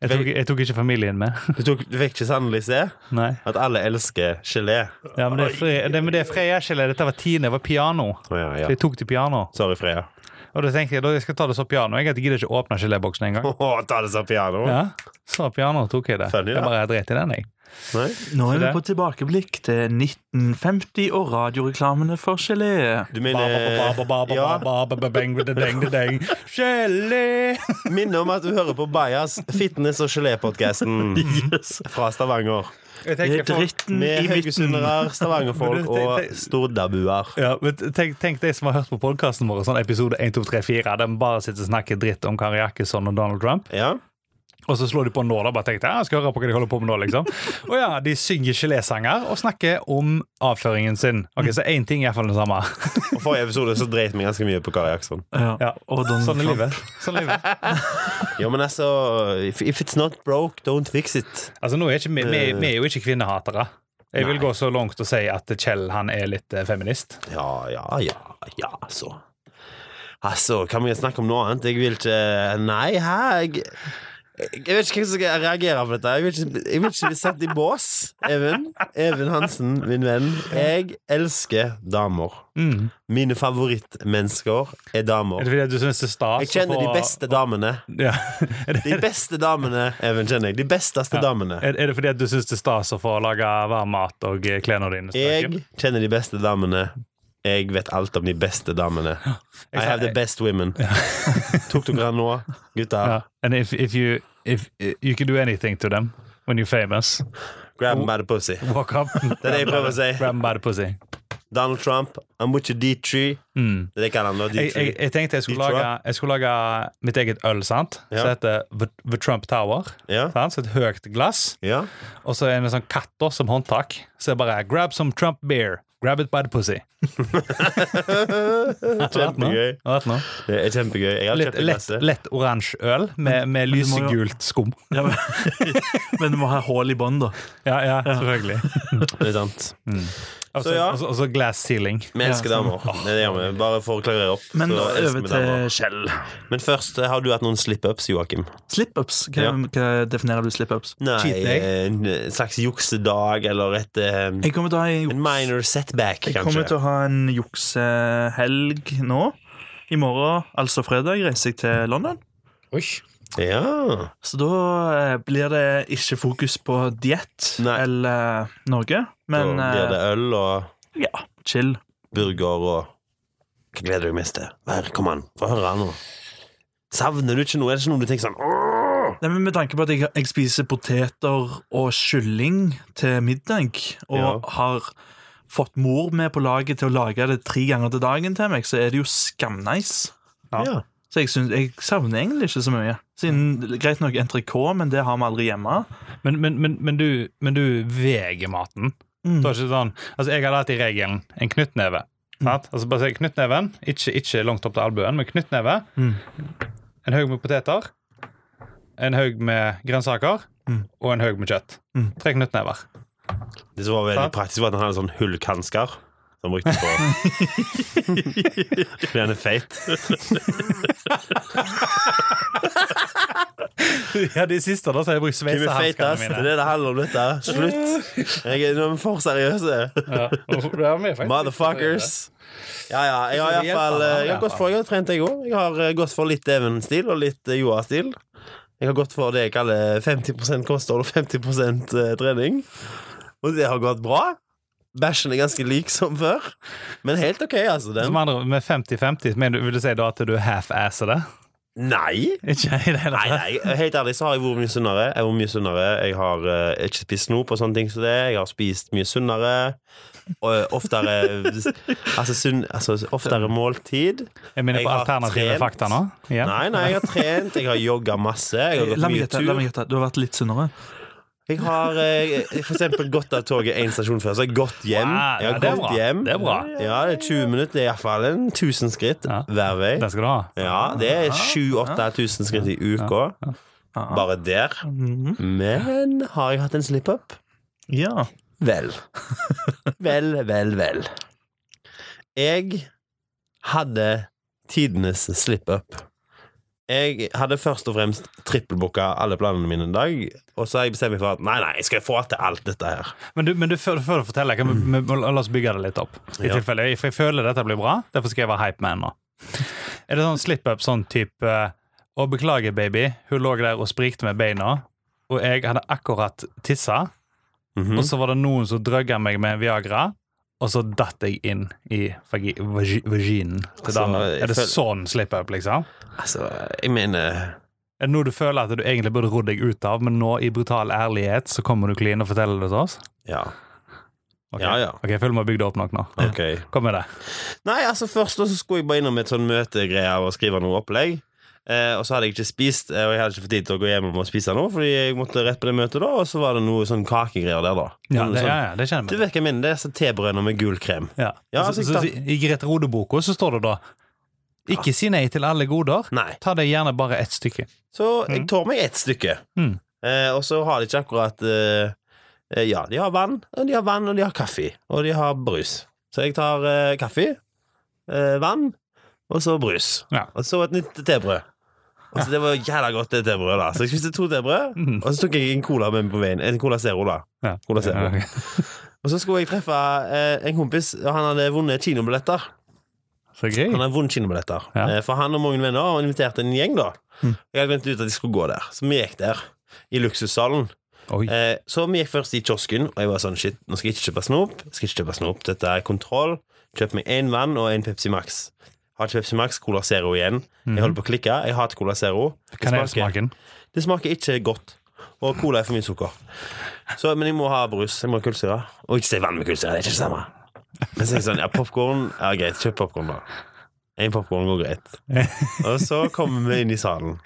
[SPEAKER 1] Jeg tok, jeg tok ikke familien med.
[SPEAKER 3] Du, tok, du fikk ikke sannelig se
[SPEAKER 1] Nei.
[SPEAKER 3] at alle elsker gelé?
[SPEAKER 1] Ja, men det er, Fre- det, men det er Freia-gelé. Dette var Tine. Det var piano.
[SPEAKER 3] Å, ja,
[SPEAKER 1] Så
[SPEAKER 3] ja.
[SPEAKER 1] jeg tok til piano.
[SPEAKER 3] Sorry, Freya.
[SPEAKER 1] Og da tenkte jeg da jeg skal ta det så piano. Jeg at jeg gidder ikke åpne geléboksen engang.
[SPEAKER 3] Å, ta det som piano?
[SPEAKER 1] Ja, så piano tok jeg det.
[SPEAKER 3] Funny,
[SPEAKER 1] Jeg
[SPEAKER 3] da.
[SPEAKER 1] bare dreit i den, jeg.
[SPEAKER 3] Nei?
[SPEAKER 2] Nå
[SPEAKER 1] Så
[SPEAKER 2] er vi
[SPEAKER 1] det-
[SPEAKER 2] på tilbakeblikk til 1950 og radioreklamene for gelé.
[SPEAKER 3] Du mener Ja,
[SPEAKER 1] Gelé!
[SPEAKER 3] minner om at du hører på Bajas fitness- og gelépodkasten
[SPEAKER 2] Yes.
[SPEAKER 3] fra Stavanger.
[SPEAKER 4] Jeg
[SPEAKER 2] Det
[SPEAKER 4] tenker
[SPEAKER 2] er
[SPEAKER 4] folk,
[SPEAKER 2] dritten i
[SPEAKER 3] Med
[SPEAKER 2] midten.
[SPEAKER 3] haugesundere, stavangerfolk og stordabuer.
[SPEAKER 1] Ja, men tenk, tenk de som har hørt på podkasten vår, sånn episode 1, 2, 3, 4, der vi bare sitter og snakker dritt om Kari Jakkesson og Donald Trump,
[SPEAKER 3] Ja.
[SPEAKER 1] og så slår de på nå da, bare tenkte, ja, jeg skal høre på hva de holder på med nå, liksom. Og ja, de synger gelésanger og snakker om avføringen sin. Ok, så én ting er iallfall det samme.
[SPEAKER 3] Og forrige episode så dreit vi ganske mye på Kari Jackson.
[SPEAKER 1] Ja.
[SPEAKER 2] Ja. Og Donald
[SPEAKER 1] Sånn er
[SPEAKER 2] Trump.
[SPEAKER 1] livet. Sånn er livet.
[SPEAKER 3] Jo, men altså If, if it's not broke, don't fix it.
[SPEAKER 1] Altså, nå er ikke, vi, vi, vi er jo ikke kvinnehatere. Jeg vil gå så langt og si at Kjell han er litt eh, feminist.
[SPEAKER 3] Ja, ja, ja, ja, så Altså, kan vi snakke om noe annet? Jeg vil ikke Nei, hæ? Jeg, jeg vet ikke hvem som skal reagere på dette. Jeg vil ikke, jeg vil ikke bli satt i bås. Even. Even Hansen, min venn. Jeg elsker damer.
[SPEAKER 1] Mm.
[SPEAKER 3] Mine favorittmennesker er
[SPEAKER 1] Er
[SPEAKER 3] damer.
[SPEAKER 1] det fordi at du altså syns det er stas?
[SPEAKER 3] Jeg kjenner
[SPEAKER 1] å
[SPEAKER 3] de
[SPEAKER 1] få-
[SPEAKER 3] beste damene.
[SPEAKER 1] Ja. Er, det,
[SPEAKER 3] De beste damene, Even, kjenner jeg. De besteste damene.
[SPEAKER 1] er, er det fordi at du syns det er stas å få lage varm mat og eh, klærne dine? Joakim?
[SPEAKER 3] Jeg kjenner de beste damene. Jeg vet alt om de beste damene. I have the best women. Tok dere den nå, gutter?
[SPEAKER 1] Ja. And if, if you if eh, you can do anything to them when you're famous,
[SPEAKER 3] Grab them by the pussy.
[SPEAKER 1] walk up.
[SPEAKER 3] Det er det jeg prøver å si.
[SPEAKER 1] Grab them by the pussy.
[SPEAKER 3] Donald Trump, I'm with you D3.
[SPEAKER 1] Mm.
[SPEAKER 3] Det er det jeg kaller han nå,
[SPEAKER 1] Jeg, jeg,
[SPEAKER 3] D3.
[SPEAKER 1] jeg tenkte jeg skulle,
[SPEAKER 3] Detroit.
[SPEAKER 1] lage, jeg skulle lage mitt eget øl, sant?
[SPEAKER 3] Ja.
[SPEAKER 1] Som heter The, The Trump Tower.
[SPEAKER 3] Ja?
[SPEAKER 1] Sant? Så et høyt glass,
[SPEAKER 3] ja?
[SPEAKER 1] og så en sånn katt da, som håndtak. Så jeg bare Grab some Trump beer. Grab it by the pussy.
[SPEAKER 3] Kjempegøy.
[SPEAKER 1] Har vært noe?
[SPEAKER 3] Det er kjempegøy. Jeg har
[SPEAKER 1] Lett,
[SPEAKER 3] kjøpt en
[SPEAKER 1] lett,
[SPEAKER 3] klasse.
[SPEAKER 1] lett oransje øl med, med
[SPEAKER 2] du må jo-
[SPEAKER 1] lysegult skum.
[SPEAKER 2] Ja, men, men du må ha hull i bånn, da.
[SPEAKER 1] Ja, ja, selvfølgelig.
[SPEAKER 3] Det er sant.
[SPEAKER 1] Og
[SPEAKER 3] Så
[SPEAKER 1] så-
[SPEAKER 3] ja.
[SPEAKER 1] og så- og så glass ceiling.
[SPEAKER 3] Vi elsker
[SPEAKER 2] Ja,
[SPEAKER 3] damer. Det er det vi gjør. Bare for å klarere opp.
[SPEAKER 2] Men
[SPEAKER 3] så elsker
[SPEAKER 2] over
[SPEAKER 3] vi
[SPEAKER 2] til
[SPEAKER 3] damer.
[SPEAKER 2] Kjell.
[SPEAKER 3] Men først, eh, har du hatt noen slip-ups, Joakim?
[SPEAKER 2] Slip-ups. Hva,
[SPEAKER 3] Ja.
[SPEAKER 2] hva definerer du slip-ups?
[SPEAKER 3] Nei,
[SPEAKER 1] Cheat day?
[SPEAKER 3] en slags juksedag eller et eh,
[SPEAKER 2] Jeg kommer til å ha en
[SPEAKER 3] En
[SPEAKER 2] juks-
[SPEAKER 3] minor setback,
[SPEAKER 2] Jeg kommer til
[SPEAKER 3] kanskje.
[SPEAKER 2] å ha en juksehelg nå. I morgen, altså fredag, reiser jeg til London.
[SPEAKER 4] Oi.
[SPEAKER 3] Ja.
[SPEAKER 2] Så da eh, blir det ikke fokus på diett
[SPEAKER 3] Nei.
[SPEAKER 2] eller Norge,
[SPEAKER 3] Da
[SPEAKER 2] men
[SPEAKER 3] blir det
[SPEAKER 2] eh,
[SPEAKER 3] øl og
[SPEAKER 2] ja, chill.
[SPEAKER 3] burger og Hva gleder du deg mest til? Vær, kom an, få høre nå. Savner du ikke noe? Er det ikke noe du tenker sånn «Åh!»
[SPEAKER 2] Nei, men Med tanke på at jeg, jeg spiser poteter og kylling til middag, og
[SPEAKER 3] Ja.
[SPEAKER 2] har fått mor med på laget til å lage det tre ganger til dagen til meg, så er det jo skamnice.
[SPEAKER 1] Ja.
[SPEAKER 3] Ja.
[SPEAKER 2] Så jeg, synes, jeg savner egentlig ikke så mye. Siden, greit nok entrecôte, men det har vi aldri hjemme.
[SPEAKER 1] Men, men, men, men du, men du veger maten.
[SPEAKER 2] Mm.
[SPEAKER 1] Du har ikke sånn, altså jeg hadde alltid regelen en knyttneve. sant? Altså bare si knyttneven, ikke, ikke langt opp til albuen, men knyttneve.
[SPEAKER 2] Mm.
[SPEAKER 1] En haug med poteter, en haug med grønnsaker
[SPEAKER 2] Mm.
[SPEAKER 1] og en haug med kjøtt.
[SPEAKER 2] Mm.
[SPEAKER 1] Tre knyttnever.
[SPEAKER 3] Det som var veldig
[SPEAKER 1] Sant?
[SPEAKER 3] praktisk, var at han hadde sånn hullkansker. Som han brukte på Fordi han er feit.
[SPEAKER 1] Ja, de siste da, så har jeg brukt
[SPEAKER 3] Hvem er feitest? Det
[SPEAKER 1] sveisehanskene
[SPEAKER 3] er
[SPEAKER 1] mine.
[SPEAKER 3] det det handler om, dette. Slutt. Jeg er, nå er vi for seriøse.
[SPEAKER 1] Ja. Ja, vi er faktisk-
[SPEAKER 3] Motherfuckers. Ja, ja. Jeg har
[SPEAKER 1] Det hjelper
[SPEAKER 3] iallfall
[SPEAKER 1] han,
[SPEAKER 3] eh, Jeg har gått for, jeg har trent, jeg òg. Jeg har eh, gått for litt Even-stil og litt eh, Joa-stil. Jeg har gått for det jeg kaller 50 kosthold og 50 trening. Og det har gått bra. Bæsjen er ganske lik som før, men helt OK, altså.
[SPEAKER 1] Som
[SPEAKER 3] Den.
[SPEAKER 1] andre, med 50-50, mener du- vil du si da at du half-asser det?
[SPEAKER 3] Nei.
[SPEAKER 1] Ikke i det hele
[SPEAKER 3] Nei,
[SPEAKER 1] tatt?
[SPEAKER 3] nei, helt ærlig så har jeg vært mye sunnere. Jeg, har vært mye sunnere. jeg har eh, ikke spist snop og sånne ting som det. Jeg har spist mye sunnere. Og eh, oftere Altså, sunn, altså oftere måltid.
[SPEAKER 1] Jeg minner
[SPEAKER 3] Jeg
[SPEAKER 1] på
[SPEAKER 3] har
[SPEAKER 1] alternative
[SPEAKER 3] trent.
[SPEAKER 1] fakta nå. igjen.
[SPEAKER 3] Nei, nei, jeg har trent, jeg har jogga masse. Jeg har gått
[SPEAKER 2] La meg
[SPEAKER 3] mye
[SPEAKER 2] gjette, la
[SPEAKER 3] tur.
[SPEAKER 2] meg gjette. Du har vært litt sunnere.
[SPEAKER 3] Jeg har eh, for eksempel gått av toget én stasjon før, så jeg har gått hjem.
[SPEAKER 1] Wow,
[SPEAKER 3] Jeg
[SPEAKER 1] ja,
[SPEAKER 3] har
[SPEAKER 1] det er
[SPEAKER 3] gått
[SPEAKER 1] bra.
[SPEAKER 3] hjem.
[SPEAKER 1] Det er bra.
[SPEAKER 3] Ja, det er 20 minutter. Det er iallfall 1000 skritt
[SPEAKER 1] Ja.
[SPEAKER 3] hver vei.
[SPEAKER 1] Den skal du ha.
[SPEAKER 3] Ja, det er 7000-8000 skritt i uka.
[SPEAKER 2] Ja.
[SPEAKER 3] Bare der.
[SPEAKER 2] Mhm.
[SPEAKER 3] Men har jeg hatt en slip-up?
[SPEAKER 2] Ja.
[SPEAKER 3] Vel. Vel, vel, vel. Jeg hadde tidenes slip-up. Jeg hadde først og fremst trippelbooka alle planene mine en dag. Og så har jeg bestemt meg for at nei, nei, jeg skal få til alt dette her.
[SPEAKER 1] Men, du, men du, før, før du forteller, kan vi, vi, må- la oss bygge det litt opp. I
[SPEAKER 3] Mm. Ja.
[SPEAKER 1] tilfelle, jeg- For jeg føler dette blir bra. Derfor skal jeg være hype man nå. Er det sånn slip-up, sånn type eh, Å, beklager, baby. Hun lå der og sprikte med beina, og jeg hadde akkurat tissa.
[SPEAKER 3] Mhm. Mm.
[SPEAKER 1] Og så var det noen som drøgga meg med Viagra, og så datt jeg inn i vagi, vagi, vaginen til
[SPEAKER 3] Altså,
[SPEAKER 1] damen.
[SPEAKER 3] jeg
[SPEAKER 1] Er det
[SPEAKER 3] føler-
[SPEAKER 1] sånn slip-up, liksom?
[SPEAKER 3] Altså, jeg mener
[SPEAKER 1] Er det noe du føler at du egentlig burde rodd deg ut av, men nå i brutal ærlighet så kommer du clean og forteller det til oss?
[SPEAKER 3] Ja.
[SPEAKER 1] Ok.
[SPEAKER 3] Ja, ja.
[SPEAKER 1] Ok, føler vi har bygd det opp nok nå.
[SPEAKER 3] Ok.
[SPEAKER 1] Kom med det.
[SPEAKER 3] Nei, altså først da så skulle jeg bare innom et sånn møtegreier og skrive noe opplegg. Eh, og så hadde jeg ikke spist, eh, og jeg hadde ikke fått tid til å gå hjem og spise noe, fordi jeg måtte rett på det møtet, da og så var det noe sånn kakegreier der, da.
[SPEAKER 1] Ja,
[SPEAKER 3] Noe
[SPEAKER 1] det, ja,
[SPEAKER 3] sånn,
[SPEAKER 1] ja, det
[SPEAKER 3] du
[SPEAKER 1] kjenner vi.
[SPEAKER 3] vet hva jeg mener, det er sånn tebrønner med gul krem.
[SPEAKER 1] Ja.
[SPEAKER 3] Ja,
[SPEAKER 1] så,
[SPEAKER 3] altså,
[SPEAKER 1] så,
[SPEAKER 3] ikke
[SPEAKER 1] så, I Grete Rode-boka så står det da Ikke si nei til alle goder.
[SPEAKER 3] Nei.
[SPEAKER 1] Ta deg gjerne bare ett stykke.
[SPEAKER 3] Så jeg tar meg ett stykke.
[SPEAKER 1] Mm.
[SPEAKER 3] Eh, og så har de ikke akkurat eh, eh, Ja, de har vann, og de har vann, og de har kaffe. Og de har brus. Så jeg tar eh, kaffe, eh, vann, og så brus.
[SPEAKER 1] Ja.
[SPEAKER 3] Og så et nytt tebrød. Og så Det var jævla godt, det tebrødet. da. Så jeg spiste to tebrød,
[SPEAKER 1] Mm.
[SPEAKER 3] og så tok jeg en cola med meg på veien. En cola zero, da.
[SPEAKER 1] Ja.
[SPEAKER 3] Cola zero.
[SPEAKER 1] Ja, ok.
[SPEAKER 3] Og så skulle jeg treffe eh, en kompis, og han hadde vunnet kinobilletter.
[SPEAKER 1] Så gøy.
[SPEAKER 3] Han har vunnet kinobilletter.
[SPEAKER 1] Ja.
[SPEAKER 3] Eh, For han og mange venner har invitert en gjeng, da.
[SPEAKER 1] Mm.
[SPEAKER 3] Jeg hadde glemt ut at de skulle gå der, så vi gikk der. I luksussalen.
[SPEAKER 1] Oi.
[SPEAKER 3] Eh, så vi gikk først i kiosken, og jeg var sånn shit, nå skal jeg ikke kjøpe snop. Jeg skal ikke kjøpe snop. Dette er kontroll. Kjøp meg én vann og én Pepsi Max. Har ikke Pepsi Max, Cola Zero igjen.
[SPEAKER 1] Mhm.
[SPEAKER 3] Jeg holder på å klikke. Jeg hater Cola Zero. Det smaker,
[SPEAKER 1] Kanelsmaken.
[SPEAKER 3] det smaker ikke godt. Og cola er for mye sukker. Så, men jeg må ha brus. Jeg må ha kullsyre. Og ikke si vann med kullsyre. Det er ikke det samme. Men så er jeg sånn, ja, popkorn Ja, greit, kjøp popkorn, da. En popkorn går greit. Og så kommer vi inn i salen.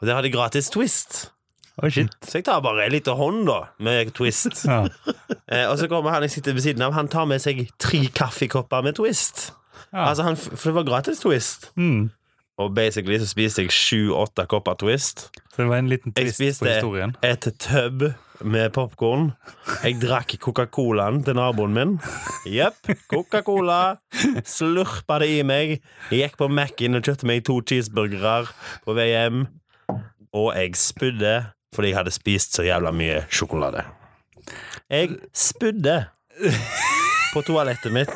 [SPEAKER 3] Og der har de gratis Twist.
[SPEAKER 1] Oi, shit.
[SPEAKER 3] Så jeg tar bare en liten hånd, da, med Twist.
[SPEAKER 1] Ja.
[SPEAKER 3] Eh, og så kommer han jeg sitter ved siden av, han tar med seg tre kaffekopper med Twist.
[SPEAKER 1] Ja.
[SPEAKER 3] Altså, han, For det var gratis Twist.
[SPEAKER 1] Mm.
[SPEAKER 3] Og basically så spiste jeg sju-åtte kopper Twist.
[SPEAKER 1] Så det var en liten
[SPEAKER 3] Jeg
[SPEAKER 1] twist på
[SPEAKER 3] spiste
[SPEAKER 1] historien.
[SPEAKER 3] et tub med popkorn. Jeg drakk Coca-Colaen til naboen min. Jepp. Coca-Cola. Slurpa det i meg. Jeg gikk på Mac-en og kjøpte meg to cheeseburgere på vei hjem. Og jeg spydde fordi jeg hadde spist så jævla mye sjokolade. Jeg spydde på toalettet mitt.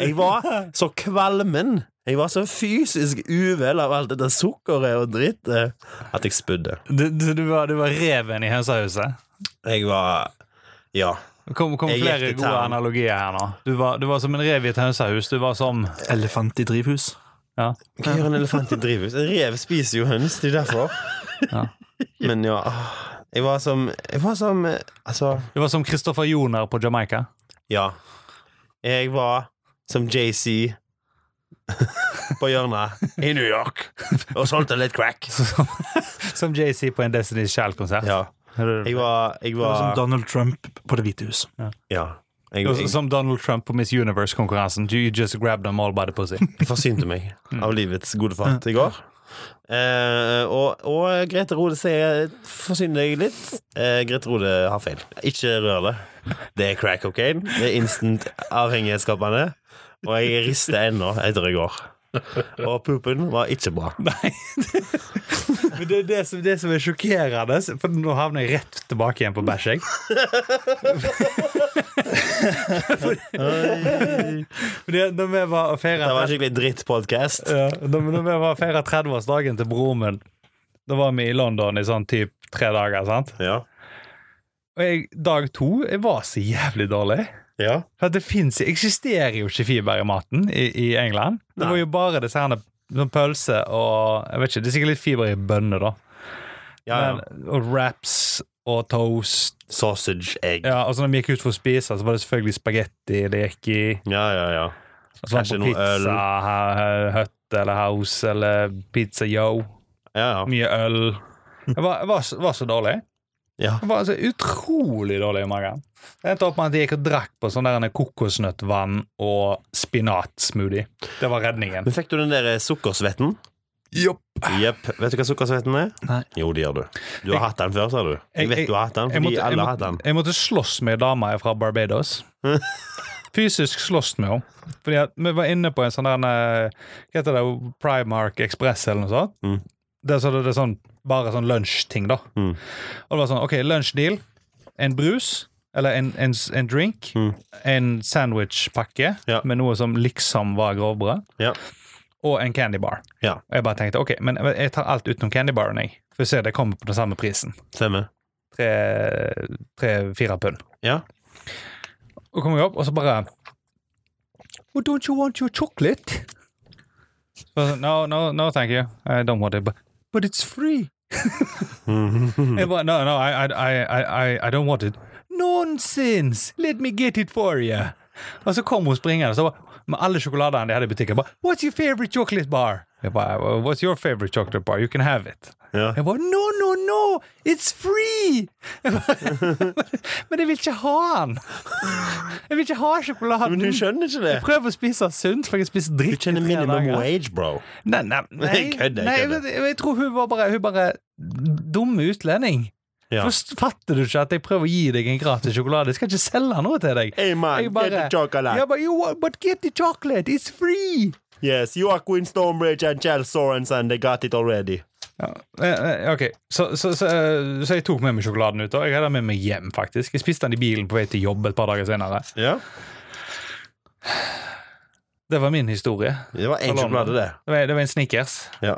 [SPEAKER 3] Jeg var så kvalmen. Jeg var så fysisk uvel av alt dette sukkeret og drittet at jeg spydde.
[SPEAKER 1] Du, du, du, var, du var reven i hønsehuset.
[SPEAKER 3] Jeg var Ja.
[SPEAKER 1] Kom, kom
[SPEAKER 3] Jeg gikk
[SPEAKER 1] flere
[SPEAKER 3] til
[SPEAKER 1] gode
[SPEAKER 3] town.
[SPEAKER 1] analogier her nå. Du var, du var som en rev i et hønsehus. Du var som
[SPEAKER 2] Elefant i drivhus.
[SPEAKER 1] ja.
[SPEAKER 3] Hva gjør en elefant i drivhus? En rev spiser jo høns, det er derfor.
[SPEAKER 1] Ja.
[SPEAKER 3] Men ja ah, Jeg var som Jeg var som eh, Altså
[SPEAKER 1] Du var som Christopher Joner på Jamaica.
[SPEAKER 3] Ja. Jeg var som JC på hjørnet i New York og solgte litt crack.
[SPEAKER 1] Som, som JC på en Destiny's Child-konsert.
[SPEAKER 3] Ja. Jeg var, jeg
[SPEAKER 2] Det var Sånn som
[SPEAKER 3] var
[SPEAKER 2] Donald Trump på Det hvite hus.
[SPEAKER 3] Ja. Jeg,
[SPEAKER 1] Og så-
[SPEAKER 3] jeg,
[SPEAKER 1] Som Donald Trump på Miss Universe-konkurransen. You just grabbed them all by the pussy.
[SPEAKER 3] Jeg forsynte meg
[SPEAKER 1] Mm.
[SPEAKER 3] av livets gode fat i går. Eh, og, og Grete Rode sier 'forsyn deg litt'. Eh, Grete Rode har feil. Ikke rør det. Det er crack cocaine. Det er instant avhengighetsskapende. Og jeg rister ennå etter i går. Og poopen var ikke bra.
[SPEAKER 1] Men det er det som, det som er sjokkerende, for nå havner jeg rett tilbake igjen på bæsj, jeg. Men det- Når vi var og feira
[SPEAKER 3] Det var en skikkelig drittpodkast.
[SPEAKER 1] ja, når, når vi var og feira 30-årsdagen til broren min, da var vi i London i sånn typ tre dager, sant?
[SPEAKER 3] Ja.
[SPEAKER 1] Og jeg, dag to, jeg var så jævlig dårlig.
[SPEAKER 3] ja.
[SPEAKER 1] For at det finnes, eksisterer jo ikke fiber i maten i, i England. Det
[SPEAKER 3] Nei.
[SPEAKER 1] var jo bare disse herne sånn pølse og jeg vet ikke, Det er sikkert litt fiber i bønner, da.
[SPEAKER 3] ja, ja.
[SPEAKER 1] Men, og wraps og toast.
[SPEAKER 3] Sausage egg.
[SPEAKER 1] Ja, og så når vi gikk ut for å spise, så var det selvfølgelig spagetti det gikk i.
[SPEAKER 3] Ja, ja, ja.
[SPEAKER 1] Og så var
[SPEAKER 3] Kanskje
[SPEAKER 1] det på
[SPEAKER 3] noe øl.
[SPEAKER 1] pizza, ha- hut eller house eller pizza yo.
[SPEAKER 3] ja, ja.
[SPEAKER 1] Mye øl. Jeg var, jeg var, så- var så dårlig.
[SPEAKER 3] ja.
[SPEAKER 1] Jeg var så utrolig dårlig i magen. Det endte opp med at jeg gikk og drakk på sånn der en kokosnøttvann og spinatsmoothie. Det var redningen.
[SPEAKER 3] Men fikk du den der sukkersvetten? Jepp. Vet du hva sukkersvetten er?
[SPEAKER 2] Nei.
[SPEAKER 3] Jo, det gjør du. Du har hatt den før, sa du.
[SPEAKER 1] Jeg-
[SPEAKER 3] Jeg vet du har hatt den,
[SPEAKER 1] Jeg
[SPEAKER 3] fordi
[SPEAKER 1] måtte, jeg,
[SPEAKER 3] alle har hatt
[SPEAKER 1] måtte,
[SPEAKER 3] den.
[SPEAKER 1] jeg måtte slåss med ei dame fra Barbados. Fysisk slåss med henne. Fordi at vi var inne på en sånn der eh, Hva heter det? Primark Express eller noe sånt.
[SPEAKER 3] Mm.
[SPEAKER 1] Der så det, det sånn, bare sånn lunsjting, da.
[SPEAKER 3] Mm.
[SPEAKER 1] Og det var sånn OK, lunsjdeal. En brus. Eller en, en, en drink.
[SPEAKER 3] Mm.
[SPEAKER 1] En sandwichpakke
[SPEAKER 3] Ja.
[SPEAKER 1] med noe som liksom var grovbrød.
[SPEAKER 3] Ja.
[SPEAKER 1] Og en candy bar.
[SPEAKER 3] Ja.
[SPEAKER 1] Og jeg bare tenkte OK, men jeg tar alt utenom candy baren, jeg. For å se, det kommer på den samme prisen.
[SPEAKER 3] Stemmer.
[SPEAKER 1] tre- tre-fire pund.
[SPEAKER 3] Ja.
[SPEAKER 1] Og kommer jeg opp, og så bare well, Don't you want your chocolate? Så, jeg sa, no, no, no, thank you. I don't want it. But, but it's free. Jeg bare, Eh, no, no, I, I, I, I, I don't want it. Nonsense! Let me get it for you! Og så kom hun springende og så bare, med alle sjokoladene de hadde i butikken. Bare, What's your favorite chocolate bar? Jeg bare, "Well, What's your favorite chocolate bar? You can have it.
[SPEAKER 3] Ja.
[SPEAKER 1] Jeg bare, No, no, no! It's free! Jeg bare, Men jeg vil ikke ha den! Jeg vil ikke ha sjokoladen!
[SPEAKER 3] Men du skjønner ikke det.
[SPEAKER 1] Jeg prøver å spise sunt, for jeg spiser
[SPEAKER 3] Du
[SPEAKER 1] dritt
[SPEAKER 3] kjenner
[SPEAKER 1] i tre
[SPEAKER 3] minimum
[SPEAKER 1] dager.
[SPEAKER 3] wage, bro.
[SPEAKER 1] Nei, nei, nei,
[SPEAKER 3] Jeg kødder, jeg
[SPEAKER 1] nei jeg,
[SPEAKER 3] kødder.
[SPEAKER 1] vet- jeg tror hun var bare, hun bare dum utlending.
[SPEAKER 3] Ja.
[SPEAKER 1] Forst- Fatter du ikke at jeg prøver å gi deg en gratis sjokolade? Jeg skal ikke selge noe til deg.
[SPEAKER 3] Hey man,
[SPEAKER 1] Jeg bare-
[SPEAKER 3] get the chocolate.
[SPEAKER 1] Ja, but, you, want- but get the chocolate, it's free!
[SPEAKER 3] Yes, Joaquin Stonebridge and Kjell Sorensen, they got it already.
[SPEAKER 1] Ja, eh, eh, ok, så, så, så, eh, så jeg tok med meg sjokoladen ut, og jeg hadde den med meg hjem, faktisk. Jeg spiste den i bilen på vei til jobb et par dager senere.
[SPEAKER 3] Ja,
[SPEAKER 1] Det var min historie.
[SPEAKER 3] Det var én
[SPEAKER 1] Halvannen.
[SPEAKER 3] sjokolade, det.
[SPEAKER 1] Det var, det var en Snickers.
[SPEAKER 3] Ja.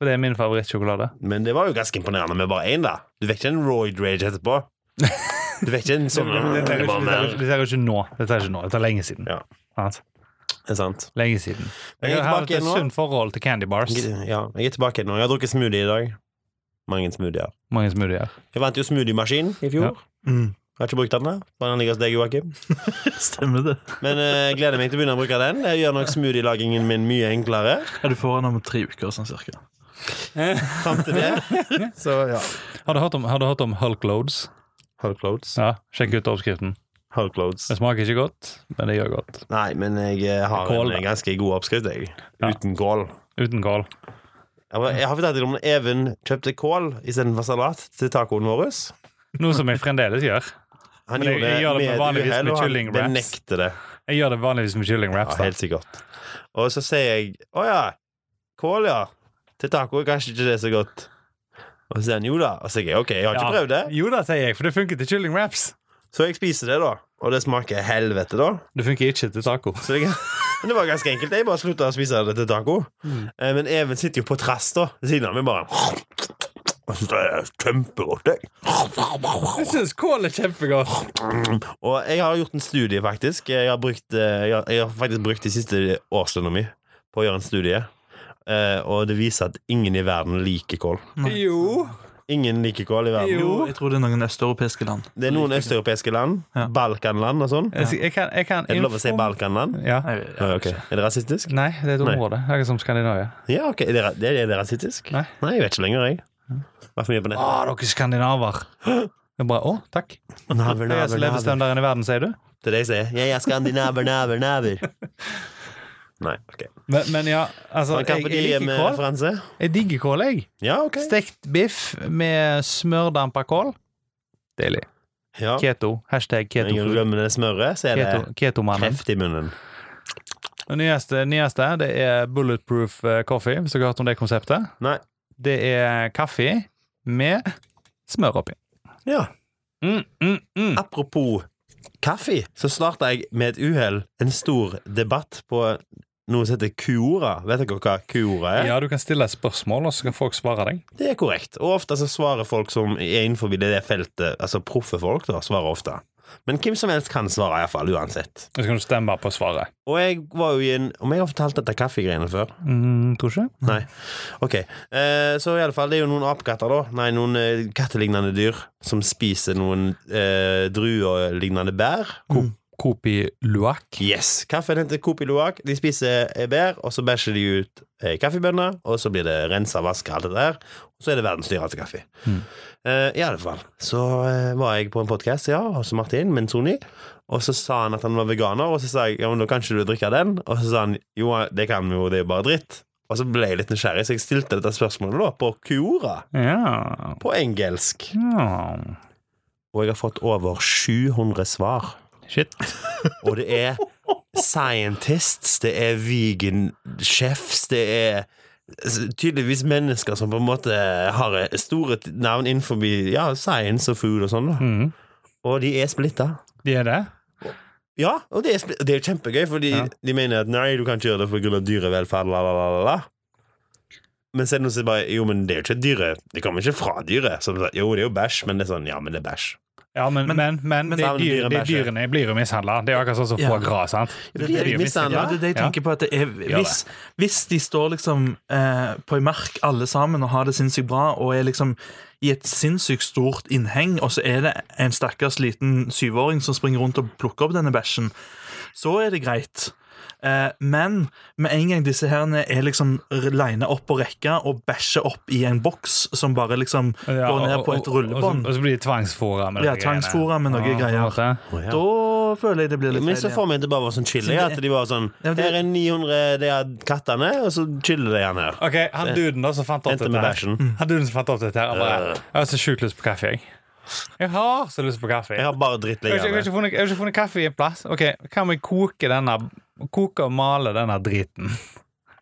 [SPEAKER 1] Og det er min favorittsjokolade.
[SPEAKER 3] Men det var jo ganske imponerende med bare én, da. Du fikk ikke en roid rage etterpå. Du fikk ikke en sånn
[SPEAKER 1] Det tar jo ikke, det tar jo ikke, det tar jo ikke nå. Det tar ikke nå. Det tar lenge siden.
[SPEAKER 3] Ja.
[SPEAKER 1] Sant?
[SPEAKER 3] Det er sant.
[SPEAKER 1] Lenge siden.
[SPEAKER 3] Jeg
[SPEAKER 1] Jeg
[SPEAKER 3] er
[SPEAKER 1] har hatt
[SPEAKER 3] tilbake
[SPEAKER 1] et
[SPEAKER 3] igjen nå.
[SPEAKER 1] sunt forhold til candy bars.
[SPEAKER 3] Ja, jeg er tilbake nå. Jeg har drukket smoothie i dag. Mange smoothier.
[SPEAKER 1] Mange smoothier.
[SPEAKER 3] Jeg vant jo smoothiemaskin i fjor.
[SPEAKER 2] Mm.
[SPEAKER 3] Jeg har ikke brukt den, da. Den ligger hos deg, Joakim.
[SPEAKER 2] Stemmer det.
[SPEAKER 3] Men eh, jeg gleder meg til å begynne å bruke den. Det gjør nok smoothielagingen min mye enklere.
[SPEAKER 2] Ja, du får den om tre uker, sånn cirka.
[SPEAKER 3] Eh. Fram til det. Så ja.
[SPEAKER 1] Har du hørt om, har du hørt om Hulk Loads?
[SPEAKER 3] Hold clothes.
[SPEAKER 1] Ja, Sjekk ut oppskriften.
[SPEAKER 3] Hold clothes.
[SPEAKER 1] Det smaker ikke godt, men det gjør godt.
[SPEAKER 3] Nei, men jeg eh, har
[SPEAKER 1] Kål, da.
[SPEAKER 3] en ganske god oppskrift, jeg.
[SPEAKER 1] Ja.
[SPEAKER 3] Uten kål.
[SPEAKER 1] Uten kål.
[SPEAKER 3] Jeg var- jeg har fortalt deg om når Even kjøpte kål istedenfor salat til tacoen vår.
[SPEAKER 1] Noe som jeg fremdeles gjør.
[SPEAKER 3] Han
[SPEAKER 1] Men jeg- jeg gjør det med vanligvis
[SPEAKER 3] uhell,
[SPEAKER 1] med
[SPEAKER 3] og han
[SPEAKER 1] kyllingrest.
[SPEAKER 3] benekter det.
[SPEAKER 1] Jeg gjør det vanligvis med
[SPEAKER 3] Ja,
[SPEAKER 1] kyllingwraps. da.
[SPEAKER 3] helt sikkert. Og så sier jeg å ja, kål, ja. Til taco er kanskje ikke det så godt. Og så sier han jo da. Og så sier jeg OK, jeg har ikke
[SPEAKER 1] Ja.
[SPEAKER 3] prøvd det.
[SPEAKER 1] Jo da, sier jeg, for det funker til kyllingwraps.
[SPEAKER 3] Så jeg spiser det, da. Og det smaker helvete, da.
[SPEAKER 1] Det funker ikke til taco.
[SPEAKER 3] Så jeg, men det var ganske enkelt. Jeg bare slutta å spise det til taco. Eh, Men Even sitter jo på trass, da. Ved siden av meg bare Jeg synes det er kjempegodt, jeg.
[SPEAKER 1] Jeg syns kål er kjempegodt.
[SPEAKER 3] Og jeg har gjort en studie, faktisk. Jeg har, brukt, eh, jeg har, jeg har faktisk brukt de siste årslønna mi på å gjøre en studie. Eh, og det viser at ingen i verden liker kål.
[SPEAKER 1] Jo.
[SPEAKER 3] Ingen liker kål i verden.
[SPEAKER 2] Jo, jeg tror det er noen østeuropeiske land.
[SPEAKER 3] Det er noen østeuropeiske land.
[SPEAKER 2] Ja.
[SPEAKER 3] Balkanland og sånn.
[SPEAKER 1] Jeg, jeg kan, jeg kan
[SPEAKER 3] Er det lov å si
[SPEAKER 1] inform-
[SPEAKER 3] Balkanland?
[SPEAKER 1] Ja.
[SPEAKER 2] Nei, jeg-
[SPEAKER 3] Ja,
[SPEAKER 2] jeg-
[SPEAKER 3] ok. Er det rasistisk?
[SPEAKER 1] Nei, det er et
[SPEAKER 3] Nei.
[SPEAKER 1] område. Det er ikke som Skandinavia.
[SPEAKER 3] Ja, ok. Er det, ra- er det rasistisk?
[SPEAKER 1] Nei.
[SPEAKER 3] jeg vet ikke lenger, jeg. Vært for mye på
[SPEAKER 1] Å,
[SPEAKER 3] nettet.
[SPEAKER 1] dere skandinaver. Det er bare, Å, takk.
[SPEAKER 3] Naver,
[SPEAKER 1] Høyeste levestandard i verden, sier du?
[SPEAKER 3] Det er det jeg sier. Jeg er skandinaver, naver, naver. Nei, ok.
[SPEAKER 1] Men, men ja, altså
[SPEAKER 3] Man kan
[SPEAKER 1] jeg,
[SPEAKER 3] få de
[SPEAKER 1] jeg
[SPEAKER 3] med
[SPEAKER 1] liker kål.
[SPEAKER 3] referanse.
[SPEAKER 1] Jeg digger kål, jeg.
[SPEAKER 3] Ja, ok.
[SPEAKER 1] Stekt biff med smørdampa kål. Deilig.
[SPEAKER 3] Ja.
[SPEAKER 1] Keto. Hashtag
[SPEAKER 3] Når jeg
[SPEAKER 1] keto.
[SPEAKER 3] rømmer det smøret, så er det
[SPEAKER 1] Keto- Ketomannen.
[SPEAKER 3] kreft i munnen.
[SPEAKER 1] Det nyeste, nyeste det er bulletproof eh, coffee, hvis dere har hørt om det konseptet.
[SPEAKER 3] Nei.
[SPEAKER 1] Det er kaffe med smør oppi.
[SPEAKER 3] Ja.
[SPEAKER 1] Mm, mm, mm.
[SPEAKER 3] Apropos kaffe, så starta jeg med et uhell en stor debatt på noe som heter Cuora. Vet dere hva Cuora er?
[SPEAKER 1] Ja, du kan stille et spørsmål, og så kan folk svare deg.
[SPEAKER 3] Det er korrekt. Og ofte så svarer folk som er innenfor det feltet, altså proffe folk, da, svarer ofte. Men hvem som helst kan svare, iallfall. Uansett.
[SPEAKER 1] Og så kan du stemme på svaret.
[SPEAKER 3] Og jeg var jo i en Om jeg har fortalt dette kaffegreiene før?
[SPEAKER 1] Mm, tror ikke.
[SPEAKER 3] Nei. Ok. Eh, så iallfall, det er jo noen apekatter, da. Nei, noen eh, kattelignende dyr som spiser noen eh, druelignende bær.
[SPEAKER 1] Kopi luak.
[SPEAKER 3] Yes. Kaffen heter Kopi Luwak. De spiser eh, bær, og så bæsjer de ut eh, kaffebønner, og så blir det rensa, vaska, alt det der. Og så er det verdens dyreste kaffe.
[SPEAKER 1] Mm.
[SPEAKER 3] Eh, I alle fall. Så eh, var jeg på en podkast, ja, hos Martin Menzoni, og så sa han at han var veganer, og så sa jeg ja, men da kan ikke du drikke den, og så sa han jo, det kan vi jo, det er jo bare dritt. Og så ble jeg litt nysgjerrig, så jeg stilte dette spørsmålet da på Kura,
[SPEAKER 1] Ja.
[SPEAKER 3] på engelsk.
[SPEAKER 1] ja.
[SPEAKER 3] Og jeg har fått over 700 svar.
[SPEAKER 1] Shit.
[SPEAKER 3] Og det er scientists, det er vegan-chefs, det er tydeligvis mennesker som på en måte har store navn innenfor ja, science og food og sånn. da.
[SPEAKER 1] Mm.
[SPEAKER 3] Og de er splitta.
[SPEAKER 1] De er det?
[SPEAKER 3] Ja, og det er, spli- det er kjempegøy, fordi
[SPEAKER 1] Ja.
[SPEAKER 3] de mener at nei, du kan ikke gjøre det pga. dyrevelferd, la, la, la, la, la. Men så er det noen som bare Jo, men det er jo ikke dyret. Det kommer ikke fra dyret. Som, sier, jo, det er jo bæsj, men det er sånn Ja, men det er bæsj.
[SPEAKER 1] Ja, men, men, men, de,
[SPEAKER 3] Sammen
[SPEAKER 1] dyr, de
[SPEAKER 3] dyrebæsje.
[SPEAKER 1] dyrene blir jo mishandla. Det er jo akkurat sånn som
[SPEAKER 2] Ja.
[SPEAKER 1] får gras. sant?
[SPEAKER 3] De
[SPEAKER 1] blir
[SPEAKER 3] blir
[SPEAKER 1] jo mishandlet.
[SPEAKER 2] Ja,
[SPEAKER 3] mishandla.
[SPEAKER 2] det er det jeg
[SPEAKER 1] Ja.
[SPEAKER 2] tenker på. At det er,
[SPEAKER 1] Ja,
[SPEAKER 2] hvis, hvis de står liksom eh, på ei mark alle sammen og har det sinnssykt bra, og er liksom i et sinnssykt stort innheng, og så er det en stakkars liten syvåring som springer rundt og plukker opp denne bæsjen, så er det greit. Eh, men med en gang disse herrene er liksom lina opp på rekka og bæsjer opp i en boks som bare liksom
[SPEAKER 1] Ja,
[SPEAKER 2] går ned
[SPEAKER 1] og-
[SPEAKER 2] på
[SPEAKER 1] og-
[SPEAKER 2] et rullebånd,
[SPEAKER 1] Og, så- og så blir de tvangsfôra med
[SPEAKER 2] Ja,
[SPEAKER 1] noe
[SPEAKER 2] tvangsfôret med noe greier.
[SPEAKER 1] greier.
[SPEAKER 3] Å, ja.
[SPEAKER 2] da føler jeg det blir litt
[SPEAKER 3] Men
[SPEAKER 2] feil.
[SPEAKER 3] så
[SPEAKER 2] igjen.
[SPEAKER 3] får vi det bare var sånn chille. At de var sånn
[SPEAKER 2] Ja, men det-
[SPEAKER 3] Her er 900 de her kattene, og så chiller de gjerne her.
[SPEAKER 1] Ok, Han duden da som fant opp
[SPEAKER 3] Endte
[SPEAKER 1] dette
[SPEAKER 3] med
[SPEAKER 1] her
[SPEAKER 3] bæsjen.
[SPEAKER 1] Han duden som fant opp dette her han bare,
[SPEAKER 3] Øh.
[SPEAKER 1] Jeg har så sjukt lyst på kaffe, jeg. Jeg har så lyst på kaffe.
[SPEAKER 3] Jeg
[SPEAKER 1] Jeg
[SPEAKER 3] har bare dritt
[SPEAKER 1] har ikke, jeg har
[SPEAKER 3] liggende.
[SPEAKER 1] ikke, funnet, jeg har ikke funnet kaffe i en plass. Ok, Kan vi koke denne Koke og male denne driten?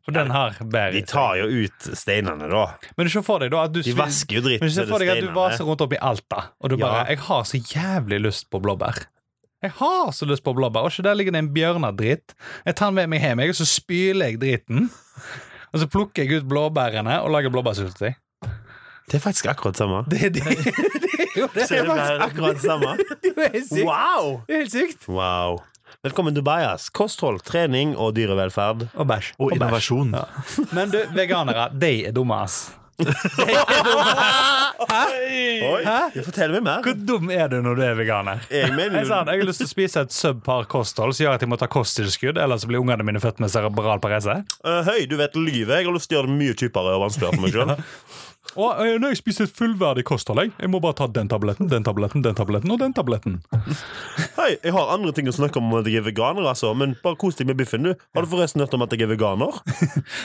[SPEAKER 1] For den har
[SPEAKER 3] De
[SPEAKER 1] bedre.
[SPEAKER 3] tar jo ut steinene, da.
[SPEAKER 1] Men se for deg da at du
[SPEAKER 3] De vasker jo dritten
[SPEAKER 1] Men se
[SPEAKER 3] med
[SPEAKER 1] for deg at du
[SPEAKER 3] steinene.
[SPEAKER 1] vaser rundt opp i Alta, og du
[SPEAKER 3] Ja.
[SPEAKER 1] bare 'Jeg har så jævlig lyst på blåbær'. Jeg har så lyst på blåbær, og ikke der ligger det en bjørnadritt. Jeg tar den med meg hjem, jeg, og så spyler jeg driten. Og så plukker jeg ut blåbærene og lager blåbærsultetøy.
[SPEAKER 3] Det er faktisk akkurat samme.
[SPEAKER 1] Det, det, det, er jo det.
[SPEAKER 3] Så er det bare akkurat samme.
[SPEAKER 1] Det er jo helt sykt.
[SPEAKER 3] Wow!
[SPEAKER 1] Det er helt sykt.
[SPEAKER 3] Wow. Velkommen til Bajas. Kosthold, trening og dyrevelferd.
[SPEAKER 1] Og bæsj.
[SPEAKER 2] Og innovasjon.
[SPEAKER 1] Men du, veganere, de er dumme, ass.
[SPEAKER 3] Oi,
[SPEAKER 1] Hæ?
[SPEAKER 3] Fortell meg mer.
[SPEAKER 1] Hvor dum er du når du er veganer?
[SPEAKER 3] Jeg mener
[SPEAKER 1] Jeg sa
[SPEAKER 3] jo
[SPEAKER 1] jeg har lyst til å spise et subpar kosthold som gjør at jeg må ta kosttilskudd, ellers blir ungene mine født med cerebral parese.
[SPEAKER 3] Eh, Høy, du vet lyvet. Jeg har lyst til å gjøre det mye kjipere og vanskeligere for meg sjøl.
[SPEAKER 1] Og eh, når jeg spiser et fullverdig kosthold, jeg, jeg må bare ta den tabletten, den tabletten, den tabletten og den tabletten.
[SPEAKER 3] Hei, jeg har andre ting å snakke om enn at jeg er veganer, altså. Men bare kos deg med biffen, du. Har du forresten hørt om at jeg er veganer?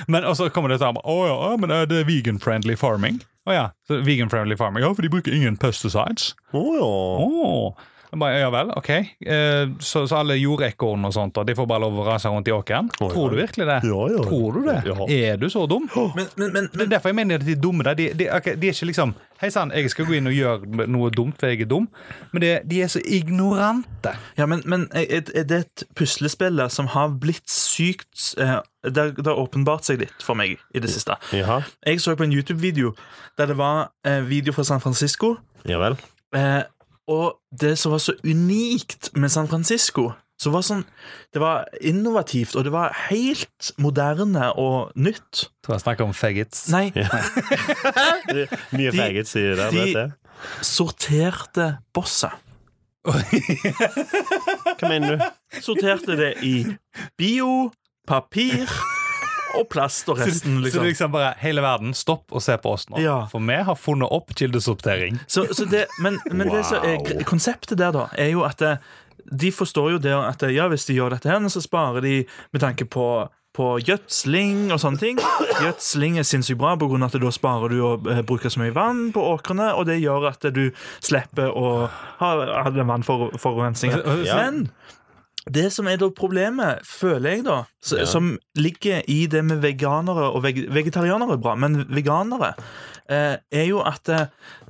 [SPEAKER 1] Men og så kommer det sammen. Å ja, ja, men er det vegan-friendly farming? Å ja, så vegan-friendly farming. Ja, for de bruker ingen pesticides.
[SPEAKER 3] Å ja.
[SPEAKER 1] Oh. Jeg Bare, ja vel, ok. Eh, så, så alle jordekorn og sånt, og de får bare lov å rase rundt i åkeren?
[SPEAKER 3] ja.
[SPEAKER 1] Tror du virkelig det?
[SPEAKER 3] Ja, ja.
[SPEAKER 1] Tror du det?
[SPEAKER 3] Ja.
[SPEAKER 1] Er du så dum?
[SPEAKER 2] Men, men, men,
[SPEAKER 1] Det er derfor jeg mener at de er dumme. der. De, de, ok, de er ikke liksom Hei sann, jeg skal gå inn og gjøre noe dumt, for jeg er dum. Men det, de er så ignorante.
[SPEAKER 2] Ja, men, men er, er det et puslespill der som har blitt sykt eh, Det har- det har åpenbart seg litt for meg i det siste.
[SPEAKER 3] Jaha.
[SPEAKER 2] Jeg så på en YouTube-video der det var eh, video fra San Francisco.
[SPEAKER 3] Ja vel.
[SPEAKER 2] Eh, og det som var så unikt med San Francisco så var sånn, Det var innovativt, og det var helt moderne og nytt.
[SPEAKER 1] Tror jeg snakker om faggots.
[SPEAKER 2] Nei,
[SPEAKER 3] Det er Mye
[SPEAKER 2] De-
[SPEAKER 3] faggots i det,
[SPEAKER 2] de-
[SPEAKER 3] vet jeg.
[SPEAKER 2] sorterte bosset.
[SPEAKER 3] Hva mener du?
[SPEAKER 2] Sorterte det i bio, papir og plast og resten,
[SPEAKER 1] Så
[SPEAKER 2] liksom.
[SPEAKER 1] det er liksom bare hele verden, stopp og se på oss nå.
[SPEAKER 2] Ja.
[SPEAKER 1] For vi har funnet opp kildesortering.
[SPEAKER 2] Så, så det, men men det som er,
[SPEAKER 3] Wow.
[SPEAKER 2] konseptet der, da, er jo at eh, de forstår jo det at eh, ja, hvis de gjør dette her, så sparer de med tanke på på gjødsling og sånne ting. Gjødsling er sinnssykt bra, på grunn av at da sparer du å eh, bruke så mye vann på åkrene, og det gjør at du slipper å ha ha den vannforurensningen.
[SPEAKER 3] Ja.
[SPEAKER 2] Men det som er da problemet, føler jeg, da, s-
[SPEAKER 3] Ja.
[SPEAKER 2] som ligger i det med veganere og veg vegetarianere er bra, men veganere, eh, er jo at eh,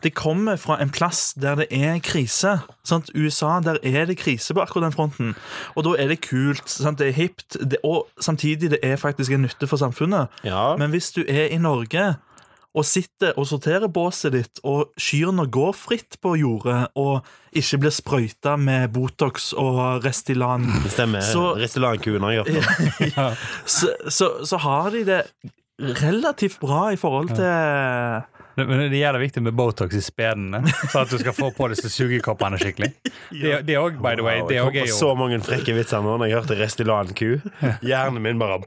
[SPEAKER 2] det kommer fra en plass der det er krise. Sant? USA, der er det krise på akkurat den fronten. Og da er det kult, sant? det er hipt, det, og samtidig det er faktisk en nytte for samfunnet.
[SPEAKER 3] Ja.
[SPEAKER 2] Men hvis du er i Norge og sitter og sorterer båset ditt, og kyrne går fritt på jordet og ikke blir sprøyta med Botox og Restilan,
[SPEAKER 3] Det stemmer.
[SPEAKER 2] Så-
[SPEAKER 3] Restaurantkuene har gjort det.
[SPEAKER 2] så, så, så har de det relativt bra i forhold til
[SPEAKER 1] Men men det er jævlig viktig med Botox i spedene, så at du skal få på disse sugekoppene skikkelig. Det- Det òg, by the way.
[SPEAKER 3] Wow,
[SPEAKER 1] Det
[SPEAKER 3] jeg
[SPEAKER 1] òg
[SPEAKER 3] kom
[SPEAKER 1] er
[SPEAKER 3] på
[SPEAKER 1] jo
[SPEAKER 3] så mange frekke vitser nå når jeg hørte Restilan-ku. Hjernen min bare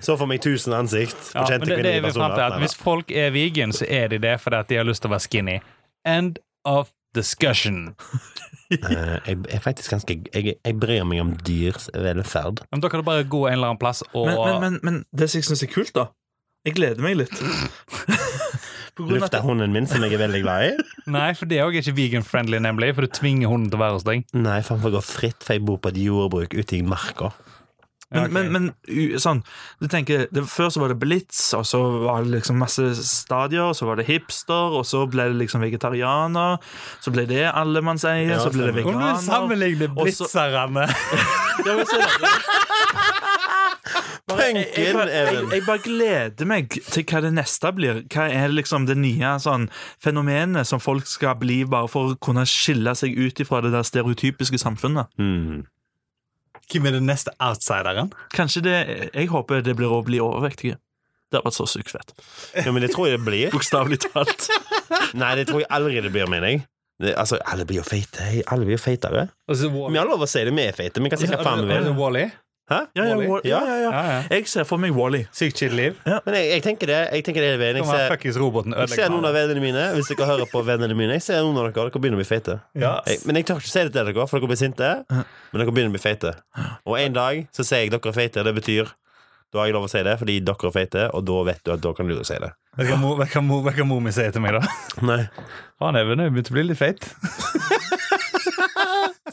[SPEAKER 3] Så for meg tusen ansikt. på
[SPEAKER 1] Ja,
[SPEAKER 3] kjente
[SPEAKER 1] men det, det
[SPEAKER 3] kvinnelige
[SPEAKER 1] er vi frem
[SPEAKER 3] personer.
[SPEAKER 1] til at
[SPEAKER 3] Nei,
[SPEAKER 1] Hvis folk er vegan, så er de det fordi at de har lyst til å være skinny. End of discussion.
[SPEAKER 3] nei. Eh, Jeg jeg er faktisk ganske Jeg, jeg bryr meg om dyrs velferd.
[SPEAKER 1] Men da kan du bare gå en eller annen plass og
[SPEAKER 2] Men, men, men, men det som jeg syns er kult, da Jeg gleder meg litt. på grunn av
[SPEAKER 3] Lufta
[SPEAKER 2] at
[SPEAKER 3] hunden min, som jeg er veldig glad i.
[SPEAKER 1] Nei, for det er òg ikke vegan-friendly, nemlig. For du tvinger hunden til å være hos deg.
[SPEAKER 3] Nei, faen for å gå fritt, for jeg bor på et jordbruk ute i marka.
[SPEAKER 1] Ja,
[SPEAKER 2] men,
[SPEAKER 1] ok.
[SPEAKER 2] men, men u- sånn du tenker, det, Før så var det blitz, og så var det liksom masse stadier, og så var det hipster, og så ble det liksom vegetarianer, så ble det allemannseie,
[SPEAKER 3] Ja,
[SPEAKER 2] så ble det
[SPEAKER 3] stemmer.
[SPEAKER 1] Om du
[SPEAKER 2] veganer
[SPEAKER 1] sammenligner
[SPEAKER 2] og så-
[SPEAKER 1] blitzerne
[SPEAKER 2] Ja, men så-
[SPEAKER 3] Bare
[SPEAKER 2] jeg,
[SPEAKER 3] Munken,
[SPEAKER 2] bare- jeg,
[SPEAKER 3] Even.
[SPEAKER 2] jeg bare gleder meg til hva det neste blir. Hva er liksom det nye sånn, fenomenet som folk skal bli bare for å kunne skille seg ut ifra det der stereotypiske samfunnet?
[SPEAKER 3] Mm.
[SPEAKER 1] Hvem er den neste outsideren?
[SPEAKER 2] Kanskje det Jeg håper det blir å bli overvektige. Det har vært så sykt fett.
[SPEAKER 3] Ja, men det tror jeg det blir.
[SPEAKER 2] Bokstavelig talt.
[SPEAKER 3] Nei, det tror jeg aldri det blir, mener jeg. Det, altså, alle blir jo feite. Hei, Alle blir jo feitere.
[SPEAKER 1] Og så
[SPEAKER 3] Vi har lov å si det, vi er feite. Vi kan si hva faen vi vil.
[SPEAKER 1] Wally.
[SPEAKER 3] Hæ?
[SPEAKER 2] Ja, ja, Wall- ja, ja, ja.
[SPEAKER 1] Ja, ja.
[SPEAKER 2] Jeg ser for meg Wally.
[SPEAKER 1] Sykt chill liv.
[SPEAKER 3] Men jeg, jeg tenker det. Jeg tenker det er veien. Jeg
[SPEAKER 1] Kan være
[SPEAKER 3] ser,
[SPEAKER 1] fuckings roboten
[SPEAKER 3] jeg ser noen av
[SPEAKER 1] ødelegger
[SPEAKER 3] vennene mine, hvis dere hører på vennene mine. Jeg ser noen av dere, dere begynner å bli feite.
[SPEAKER 1] Ja.
[SPEAKER 3] Jeg, men jeg tør ikke si det til dere, for dere blir sinte. Men dere begynner å bli feite. Og en dag så sier jeg dere er feite. Det betyr Da har jeg lov å si det, fordi dere er feite, og da vet du at da kan du si det.
[SPEAKER 1] Vet du hva mo- vet du hva mo- vet du hva mor mi sier til meg, da?
[SPEAKER 3] Nei.
[SPEAKER 1] Faen, Even, jeg begynte å bli litt feit.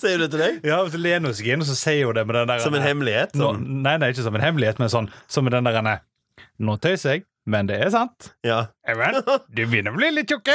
[SPEAKER 3] Sier du det til deg?
[SPEAKER 1] Ja, og så lener hun seg inn, og så sier hun det med den der
[SPEAKER 3] Som en hemmelighet?
[SPEAKER 1] Nå,
[SPEAKER 3] Sånn.
[SPEAKER 1] nei, nei, ikke som en hemmelighet, men sånn som med den der nei, Nå tøyser jeg, men det er sant.
[SPEAKER 3] Ja.
[SPEAKER 1] Even, du begynner å bli litt tjukke.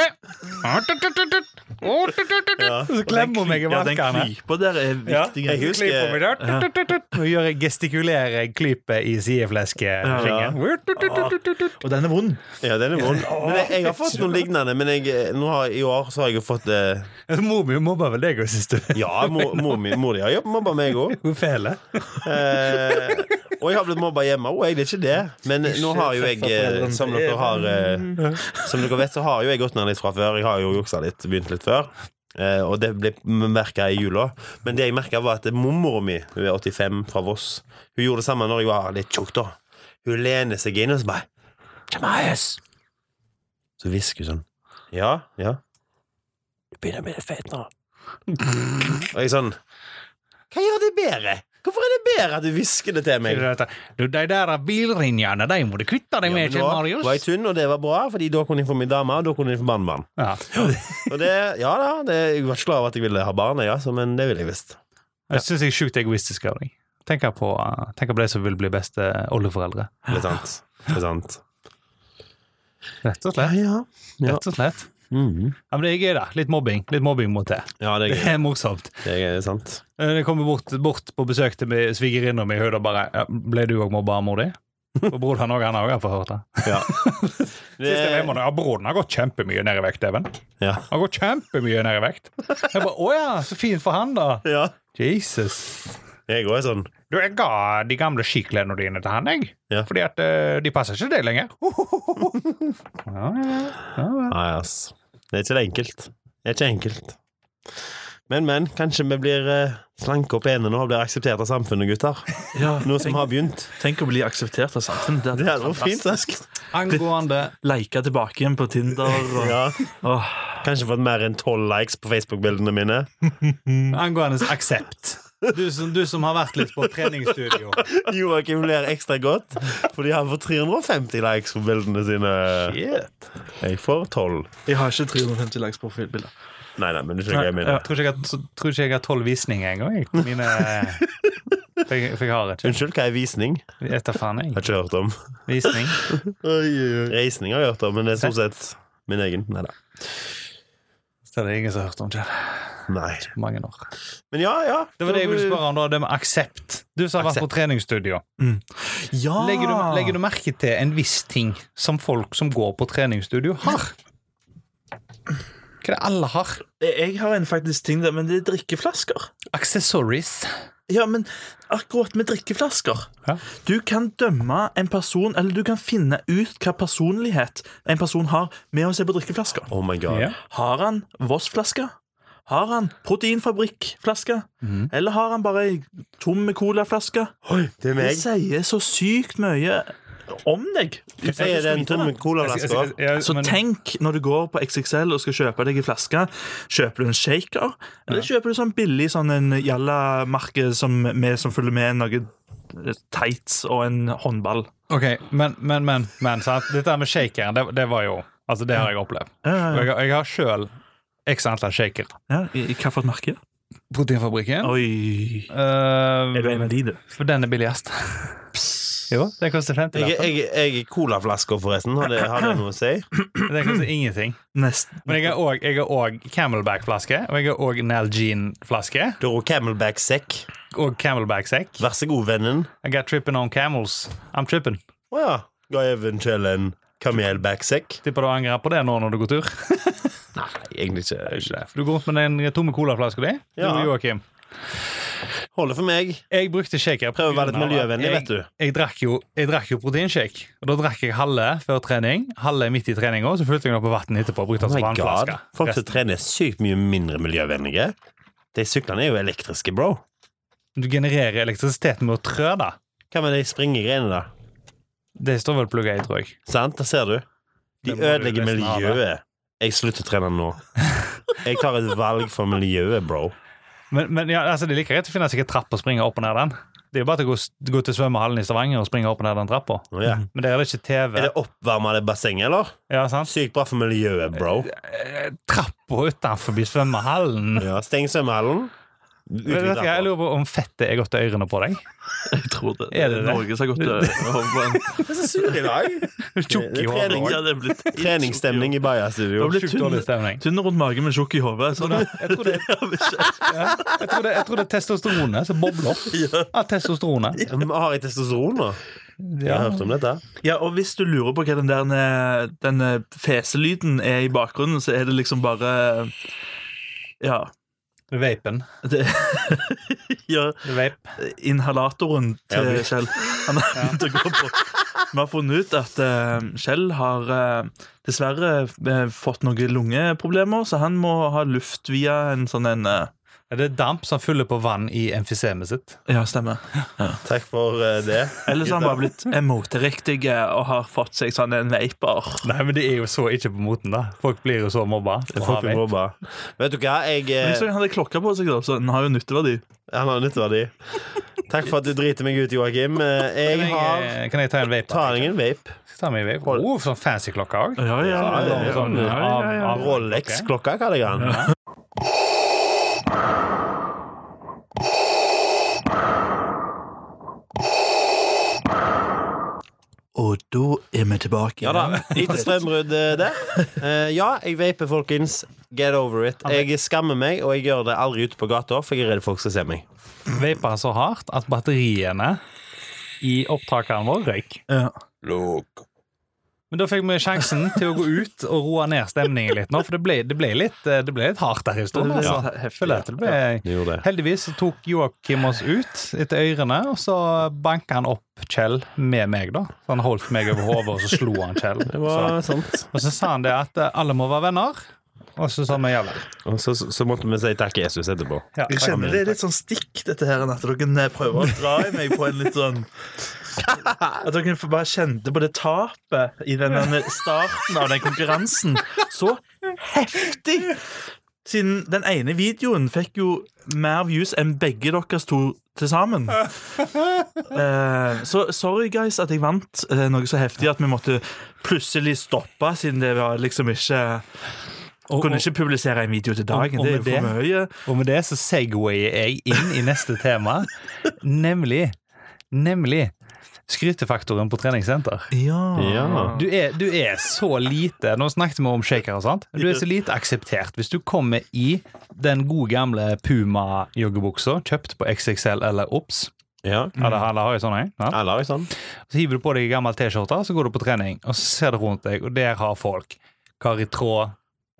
[SPEAKER 1] Ah, tut, tut, tut, tut. Oh, tut, tut, tut, tut.
[SPEAKER 3] Ja.
[SPEAKER 1] Så klemmer hun meg i
[SPEAKER 2] Ja, den
[SPEAKER 1] valkene.
[SPEAKER 2] klypa der er viktig.
[SPEAKER 1] Ja,
[SPEAKER 3] Jeg husker-
[SPEAKER 1] klyper meg der. Tut, tut, tut, tut. Nå gjør jeg gestikulerer jeg klypet i sidefleskefingeren. Tut, tut, tut, tut, tut, tut.
[SPEAKER 2] Og den er vond.
[SPEAKER 3] Ja, den er vond. Men jeg, jeg har fått noen lignende, men jeg, eh, nå har, i år så har jeg jo fått eh,
[SPEAKER 1] Altså, Mor mi mobba vel deg òg, syns du?
[SPEAKER 3] Ja, mor, mor, mi- mor di har jobbet- mobba meg òg.
[SPEAKER 1] Hun fele.
[SPEAKER 3] Eh, og jeg har blitt mobba hjemme òg, jeg. Det er ikke det. Men nå har jo jeg, eh, som dere har eh, Som dere vet, så har jo jeg gått ned litt fra før. Jeg har jo juksa litt, begynt litt før. Eh, og det ble merka i jula. Men det jeg merka, var at mormora mi, hun er 85 fra Voss, hun gjorde det samme når jeg var litt tjukk, da. Hun lener seg inn og så bare Jamais! Så hvisker hun sånn. Ja, ja. Du begynner å bli litt feit nå. Og jeg sånn Hva gjør det bedre? Hvorfor er det bedre at du hvisker det til meg?
[SPEAKER 1] Du, de der bilrinjene, de må du kutte deg med,
[SPEAKER 3] Ja, men
[SPEAKER 1] ikke
[SPEAKER 3] da var jeg
[SPEAKER 1] Marius?
[SPEAKER 3] tynn, og det var bra, Fordi da kunne jeg få min dame, og da kunne jeg få barnebarn.
[SPEAKER 1] Ja.
[SPEAKER 3] Og det, ja da, det, jeg var ikke klar over at jeg ville ha barn, jeg, altså, men det ville jeg visst.
[SPEAKER 1] Jeg syns jeg er sjukt egoistisk av deg. Tenk her på, eh, tenk her på de som vil bli beste oldeforeldre.
[SPEAKER 3] Det er sant. Det er sant.
[SPEAKER 1] Rett og slett.
[SPEAKER 3] ja. Ja.
[SPEAKER 1] Rett og slett.
[SPEAKER 3] Mhm.
[SPEAKER 1] Ja, men det er gøy, da. Litt mobbing. Litt mobbing må til.
[SPEAKER 3] ja, det er
[SPEAKER 1] Det
[SPEAKER 3] gøy.
[SPEAKER 1] er morsomt.
[SPEAKER 3] Det er, gøy, sant.
[SPEAKER 1] Eh, Jeg kommer bort, bort på besøk til mi- svigerinna mi, hun da bare ja, 'Ble du òg mobba av mor di?' Og broren han òg, han har også fått hørt det.
[SPEAKER 3] Ja.
[SPEAKER 1] Siste
[SPEAKER 3] Det-
[SPEAKER 1] veimåned, ja, broren har gått kjempemye ned i vekt, Even.
[SPEAKER 3] ja.
[SPEAKER 1] Han går kjempemye ned i vekt. Jeg bare, Å ja, så fint for han, da.
[SPEAKER 3] ja.
[SPEAKER 1] Jesus.
[SPEAKER 3] Jeg òg er sånn.
[SPEAKER 1] Du, jeg ga de gamle skiklærne dine til han, jeg.
[SPEAKER 3] Ja.
[SPEAKER 1] Fordi at eh, de passer ikke deg lenger. ja, ja, ja, ja.
[SPEAKER 3] Nei, ass. Det er ikke det enkelt. Det er ikke enkelt. Men, men. Kanskje vi blir eh, slanke og pene nå og blir akseptert av samfunnet, gutter.
[SPEAKER 2] Ja,
[SPEAKER 3] Nå som har begynt.
[SPEAKER 2] Tenk å bli akseptert av samfunnet. Det
[SPEAKER 3] Det er
[SPEAKER 2] hadde
[SPEAKER 3] jo
[SPEAKER 2] vært
[SPEAKER 3] fint.
[SPEAKER 2] fantastisk.
[SPEAKER 1] Angående
[SPEAKER 2] Leika tilbake igjen på Tinder. Og,
[SPEAKER 3] Ja.
[SPEAKER 2] Åh,
[SPEAKER 3] Kanskje fått mer enn tolv likes på Facebook-bildene mine.
[SPEAKER 1] Angående aksept. Du som, du som har vært litt på treningsstudio.
[SPEAKER 3] Joakim ler ekstra godt fordi han får 350 likes på bildene sine.
[SPEAKER 1] Shit.
[SPEAKER 3] Jeg får 12.
[SPEAKER 2] jeg har ikke 350 likes profilbilder.
[SPEAKER 3] Nei, nei, men du skjønner
[SPEAKER 1] Ja.
[SPEAKER 3] hva jeg mener.
[SPEAKER 1] Tror ikke jeg har- tror ikke jeg har tolv visninger engang. jeg, på Mine For jeg, for jeg har ikke.
[SPEAKER 3] Unnskyld, hva er visning?
[SPEAKER 1] Jeg tar faen, jeg.
[SPEAKER 3] Har ikke hørt om.
[SPEAKER 1] Visning.
[SPEAKER 3] Reisning har jeg hørt om, men det er stort sett min egen. Nei da.
[SPEAKER 1] Så det er ingen som har hørt om det.
[SPEAKER 3] Nei.
[SPEAKER 1] Mange år.
[SPEAKER 3] Men ja, ja.
[SPEAKER 1] Det var det jeg ville spørre om, da. Det med aksept. Du som har vært på treningsstudio.
[SPEAKER 2] Ja!
[SPEAKER 1] Legger du,
[SPEAKER 3] Ah.
[SPEAKER 1] legger du merke til en viss ting som folk som går på treningsstudio, har? Hva er det alle har?
[SPEAKER 2] Jeg har en faktisk ting der, men det er drikkeflasker.
[SPEAKER 1] Accessories.
[SPEAKER 2] Ja, men akkurat med drikkeflasker
[SPEAKER 1] Ja.
[SPEAKER 2] Du kan dømme en person, eller du kan finne ut hva personlighet en person har med å se på drikkeflasker.
[SPEAKER 3] Oh my god.
[SPEAKER 2] Har han Voss-flaske? Har han proteinfabrikk-flaske?
[SPEAKER 3] Mhm.
[SPEAKER 2] Eller har han bare ei tom colaflaske?
[SPEAKER 3] Oi, det er
[SPEAKER 2] Det
[SPEAKER 3] meg.
[SPEAKER 2] sier så sykt mye om deg.
[SPEAKER 3] Jeg er den tomme colaflaska.
[SPEAKER 2] Så tenk når du går på XXL og skal kjøpe deg en flaske. Kjøper du en shaker, eller kjøper du sånn billig sånn en jalla-merke som, med- som følger med noe tights og en håndball?
[SPEAKER 1] Ok, men, men, men, men sant? Dette her med shakeren, det, det var jo Altså, det har jeg opplevd.
[SPEAKER 2] Ja,
[SPEAKER 1] Og
[SPEAKER 2] ja,
[SPEAKER 1] jeg, jeg har sjøl x antall shaker.
[SPEAKER 2] ja. I, i hva for et merke?
[SPEAKER 1] Proteinfabrikken.
[SPEAKER 2] Oi.
[SPEAKER 1] Eh,
[SPEAKER 2] Er du en av de, du?
[SPEAKER 1] for den er billigst. Jo, den koster 50
[SPEAKER 3] Jeg,
[SPEAKER 1] lapper.
[SPEAKER 3] jeg, jeg er colaflasker, forresten. Har det, har det noe å si?
[SPEAKER 1] Den koster ingenting.
[SPEAKER 2] Nesten.
[SPEAKER 1] Men jeg har òg- jeg har òg Camelback-flaske, og jeg har òg Nalgene-flaske.
[SPEAKER 3] Doro Camelback-sekk.
[SPEAKER 1] Og Camelback-sekk.
[SPEAKER 3] Vær så god, vennen.
[SPEAKER 1] I got tripping on camels. I'm tripping.
[SPEAKER 3] Å ja. Ga eventuelt en kamelback-sekk?
[SPEAKER 1] Tipper du angrer på det nå når du går tur.
[SPEAKER 3] Nei, egentlig ikke.
[SPEAKER 1] Du går rundt med den tomme colaflaska di. Du
[SPEAKER 3] Ja.
[SPEAKER 1] og Joakim.
[SPEAKER 3] Holder for meg.
[SPEAKER 1] Jeg brukte shaker. på
[SPEAKER 3] Prøver å være litt
[SPEAKER 1] grunn av at
[SPEAKER 3] miljøvennlig,
[SPEAKER 1] jeg-
[SPEAKER 3] vet du.
[SPEAKER 1] Jeg drakk jo, jeg drakk jo proteinshake. Og da drakk jeg halve før trening, halve midt i treninga, så fylte jeg den opp med vann etterpå. og Brukte den
[SPEAKER 3] Oh
[SPEAKER 1] Sånn som
[SPEAKER 3] my god.
[SPEAKER 1] vannflaske.
[SPEAKER 3] Folk som
[SPEAKER 1] Resten-
[SPEAKER 3] trener, er sykt mye mindre miljøvennlige. De syklene er jo elektriske, bro.
[SPEAKER 1] Du genererer elektrisitet med å trø, da.
[SPEAKER 3] Hva med de springegreiene, da?
[SPEAKER 1] Det står vel plugga i, tror jeg.
[SPEAKER 3] Sant, der ser du.
[SPEAKER 1] Det
[SPEAKER 3] De
[SPEAKER 1] må du
[SPEAKER 3] ødelegger
[SPEAKER 1] nesten ha det.
[SPEAKER 3] miljøet. Jeg slutter å trene nå. Jeg tar et valg for miljøet, bro.
[SPEAKER 1] Men, men ja, altså, det er like greit å finne seg en trapp og springe opp og ned den. Det er jo bare til å gå, gå til svømmehallen i Stavanger og springe opp og ned den trappa.
[SPEAKER 3] Å, ja.
[SPEAKER 1] Men der er det ikke TV.
[SPEAKER 3] Er det oppvarma det bassenget, eller?
[SPEAKER 1] Ja, sant?
[SPEAKER 3] Sykt bra for miljøet, bro.
[SPEAKER 1] Eh, Trappa utenfor svømmehallen.
[SPEAKER 3] Ja, steng svømmehallen.
[SPEAKER 1] Vet
[SPEAKER 3] Utvid
[SPEAKER 1] du hva, Jeg
[SPEAKER 3] trappa.
[SPEAKER 1] lurer på om fettet er godt i ørene på deg.
[SPEAKER 2] Jeg tror det.
[SPEAKER 1] Er det det?
[SPEAKER 2] Norge som har gått eh, over.
[SPEAKER 3] Jeg er så sur i dag.
[SPEAKER 1] Tjukk i
[SPEAKER 3] Det er
[SPEAKER 1] håret
[SPEAKER 3] trening.
[SPEAKER 1] også.
[SPEAKER 2] Ja, det er blitt
[SPEAKER 3] Treningsstemning i
[SPEAKER 2] Det
[SPEAKER 3] Baja-studio.
[SPEAKER 2] har blitt
[SPEAKER 1] Sjukt
[SPEAKER 2] tynn,
[SPEAKER 1] dårlig stemning.
[SPEAKER 2] tynn rundt magen, men tjukk i hodet. Sånn.
[SPEAKER 1] Jeg tror det, ja, jeg tror det, jeg tror det er testosteronet som bobler opp. Ja, testosteronet.
[SPEAKER 3] Har jeg testosteron nå? Jeg
[SPEAKER 1] Ja.
[SPEAKER 3] har hørt om dette.
[SPEAKER 2] Ja, og hvis du lurer på hva den der eh, den eh, feselyden er i bakgrunnen, så er det liksom bare Ja.
[SPEAKER 1] Vapen.
[SPEAKER 2] Det, ja
[SPEAKER 1] Vape.
[SPEAKER 2] inhalatoren til
[SPEAKER 3] Ja, du-
[SPEAKER 2] Kjell. Han har begynt å gå på. Vi har funnet ut at eh, Kjell har eh, dessverre eh, fått noen lungeproblemer, så han må ha luft via en sånn en eh,
[SPEAKER 1] Er det damp som fyller på vann i emfysemet sitt?
[SPEAKER 2] Ja, stemmer.
[SPEAKER 3] Takk for eh, det.
[SPEAKER 2] Eller så har han bare blitt emoteriktig og har fått seg sånn en vaper.
[SPEAKER 1] Nei, men det er jo så ikke på moten, da. Folk blir jo så mobba. for å ha
[SPEAKER 3] Folk
[SPEAKER 1] vape.
[SPEAKER 3] blir mobba. Vet du hva, jeg
[SPEAKER 2] Men
[SPEAKER 3] eh,
[SPEAKER 2] så han hadde klokka på seg, da, så den har jo nytteverdi.
[SPEAKER 3] Han har nytteverdi. Takk for at du driter meg ut, Joakim. Eh,
[SPEAKER 1] Kan
[SPEAKER 3] Jeg har
[SPEAKER 1] jeg, kan jeg ta en vape? da?
[SPEAKER 3] Tar jeg en vape.
[SPEAKER 1] Skal ta med i vape. Oh, sånn fancy klokke òg.
[SPEAKER 2] Ja, ja,
[SPEAKER 3] Ja, ja, ja.
[SPEAKER 1] Sånn,
[SPEAKER 2] ja, ja,
[SPEAKER 1] av-
[SPEAKER 2] ja.
[SPEAKER 1] av- ok.
[SPEAKER 3] Rolex-klokka, kaller jeg den.
[SPEAKER 2] Og da er vi tilbake.
[SPEAKER 3] Ja da, Lite strømbrudd eh, der. Eh, ja, jeg vaper, folkens. Get over it. Jeg skammer meg, og jeg gjør det aldri ute på gata, for jeg er redd folk skal se meg.
[SPEAKER 1] Vapa så hardt at batteriene i opptakeren vår røyk.
[SPEAKER 2] Ja.
[SPEAKER 1] Men da fikk vi sjansen til å gå ut og roe ned stemningen litt nå, for det ble, det ble, litt, eh, det ble litt hardt der i stund.
[SPEAKER 2] Det ble
[SPEAKER 1] altså.
[SPEAKER 2] litt heftig,
[SPEAKER 1] Føler jeg at det ble-
[SPEAKER 3] Du gjorde det.
[SPEAKER 1] Heldigvis så tok Joakim oss ut etter ørene, og så banka han opp Kjell med meg, da. Så han holdt meg over hodet, og så slo han Kjell.
[SPEAKER 3] Det
[SPEAKER 1] Så,
[SPEAKER 3] var sant.
[SPEAKER 1] og så sa han det at eh, alle må være venner, og så sa vi ja vel.
[SPEAKER 3] Og så, så måtte vi si takk Jesus etterpå.
[SPEAKER 1] Ja,
[SPEAKER 2] Jeg kjenner det er litt sånn stikk, dette her, enn at dere prøver å dra i meg på en litt sånn At dere bare kjente på det tapet i den den starten av den konkurransen. Så heftig! Siden den ene videoen fikk jo mer views enn begge deres to til sammen. Eh, Så sorry, guys, at jeg vant eh, noe så heftig at vi måtte plutselig stoppe, siden det var liksom ikke
[SPEAKER 1] Og,
[SPEAKER 2] Kunne
[SPEAKER 1] og,
[SPEAKER 2] ikke publisere en video til dagen.
[SPEAKER 1] og
[SPEAKER 2] Det er
[SPEAKER 1] med
[SPEAKER 2] jo for mye.
[SPEAKER 1] og med det så segwayer jeg inn i neste tema, nemlig Nemlig skrytefaktoren på treningssenter.
[SPEAKER 3] Ja.
[SPEAKER 1] Du er, du er så lite Nå snakket vi om shakere, sant? Du er så lite akseptert. Hvis du kommer i den gode gamle Puma-joggebuksa, kjøpt på XXL eller Ops
[SPEAKER 3] Ja.
[SPEAKER 1] Alle, alle har jo sånne. Ja.
[SPEAKER 3] Eller ikke sant?
[SPEAKER 1] Så hiver du på deg en gammel T-skjorte, så går du på trening, og så ser du rundt deg, og der har folk Karitråd,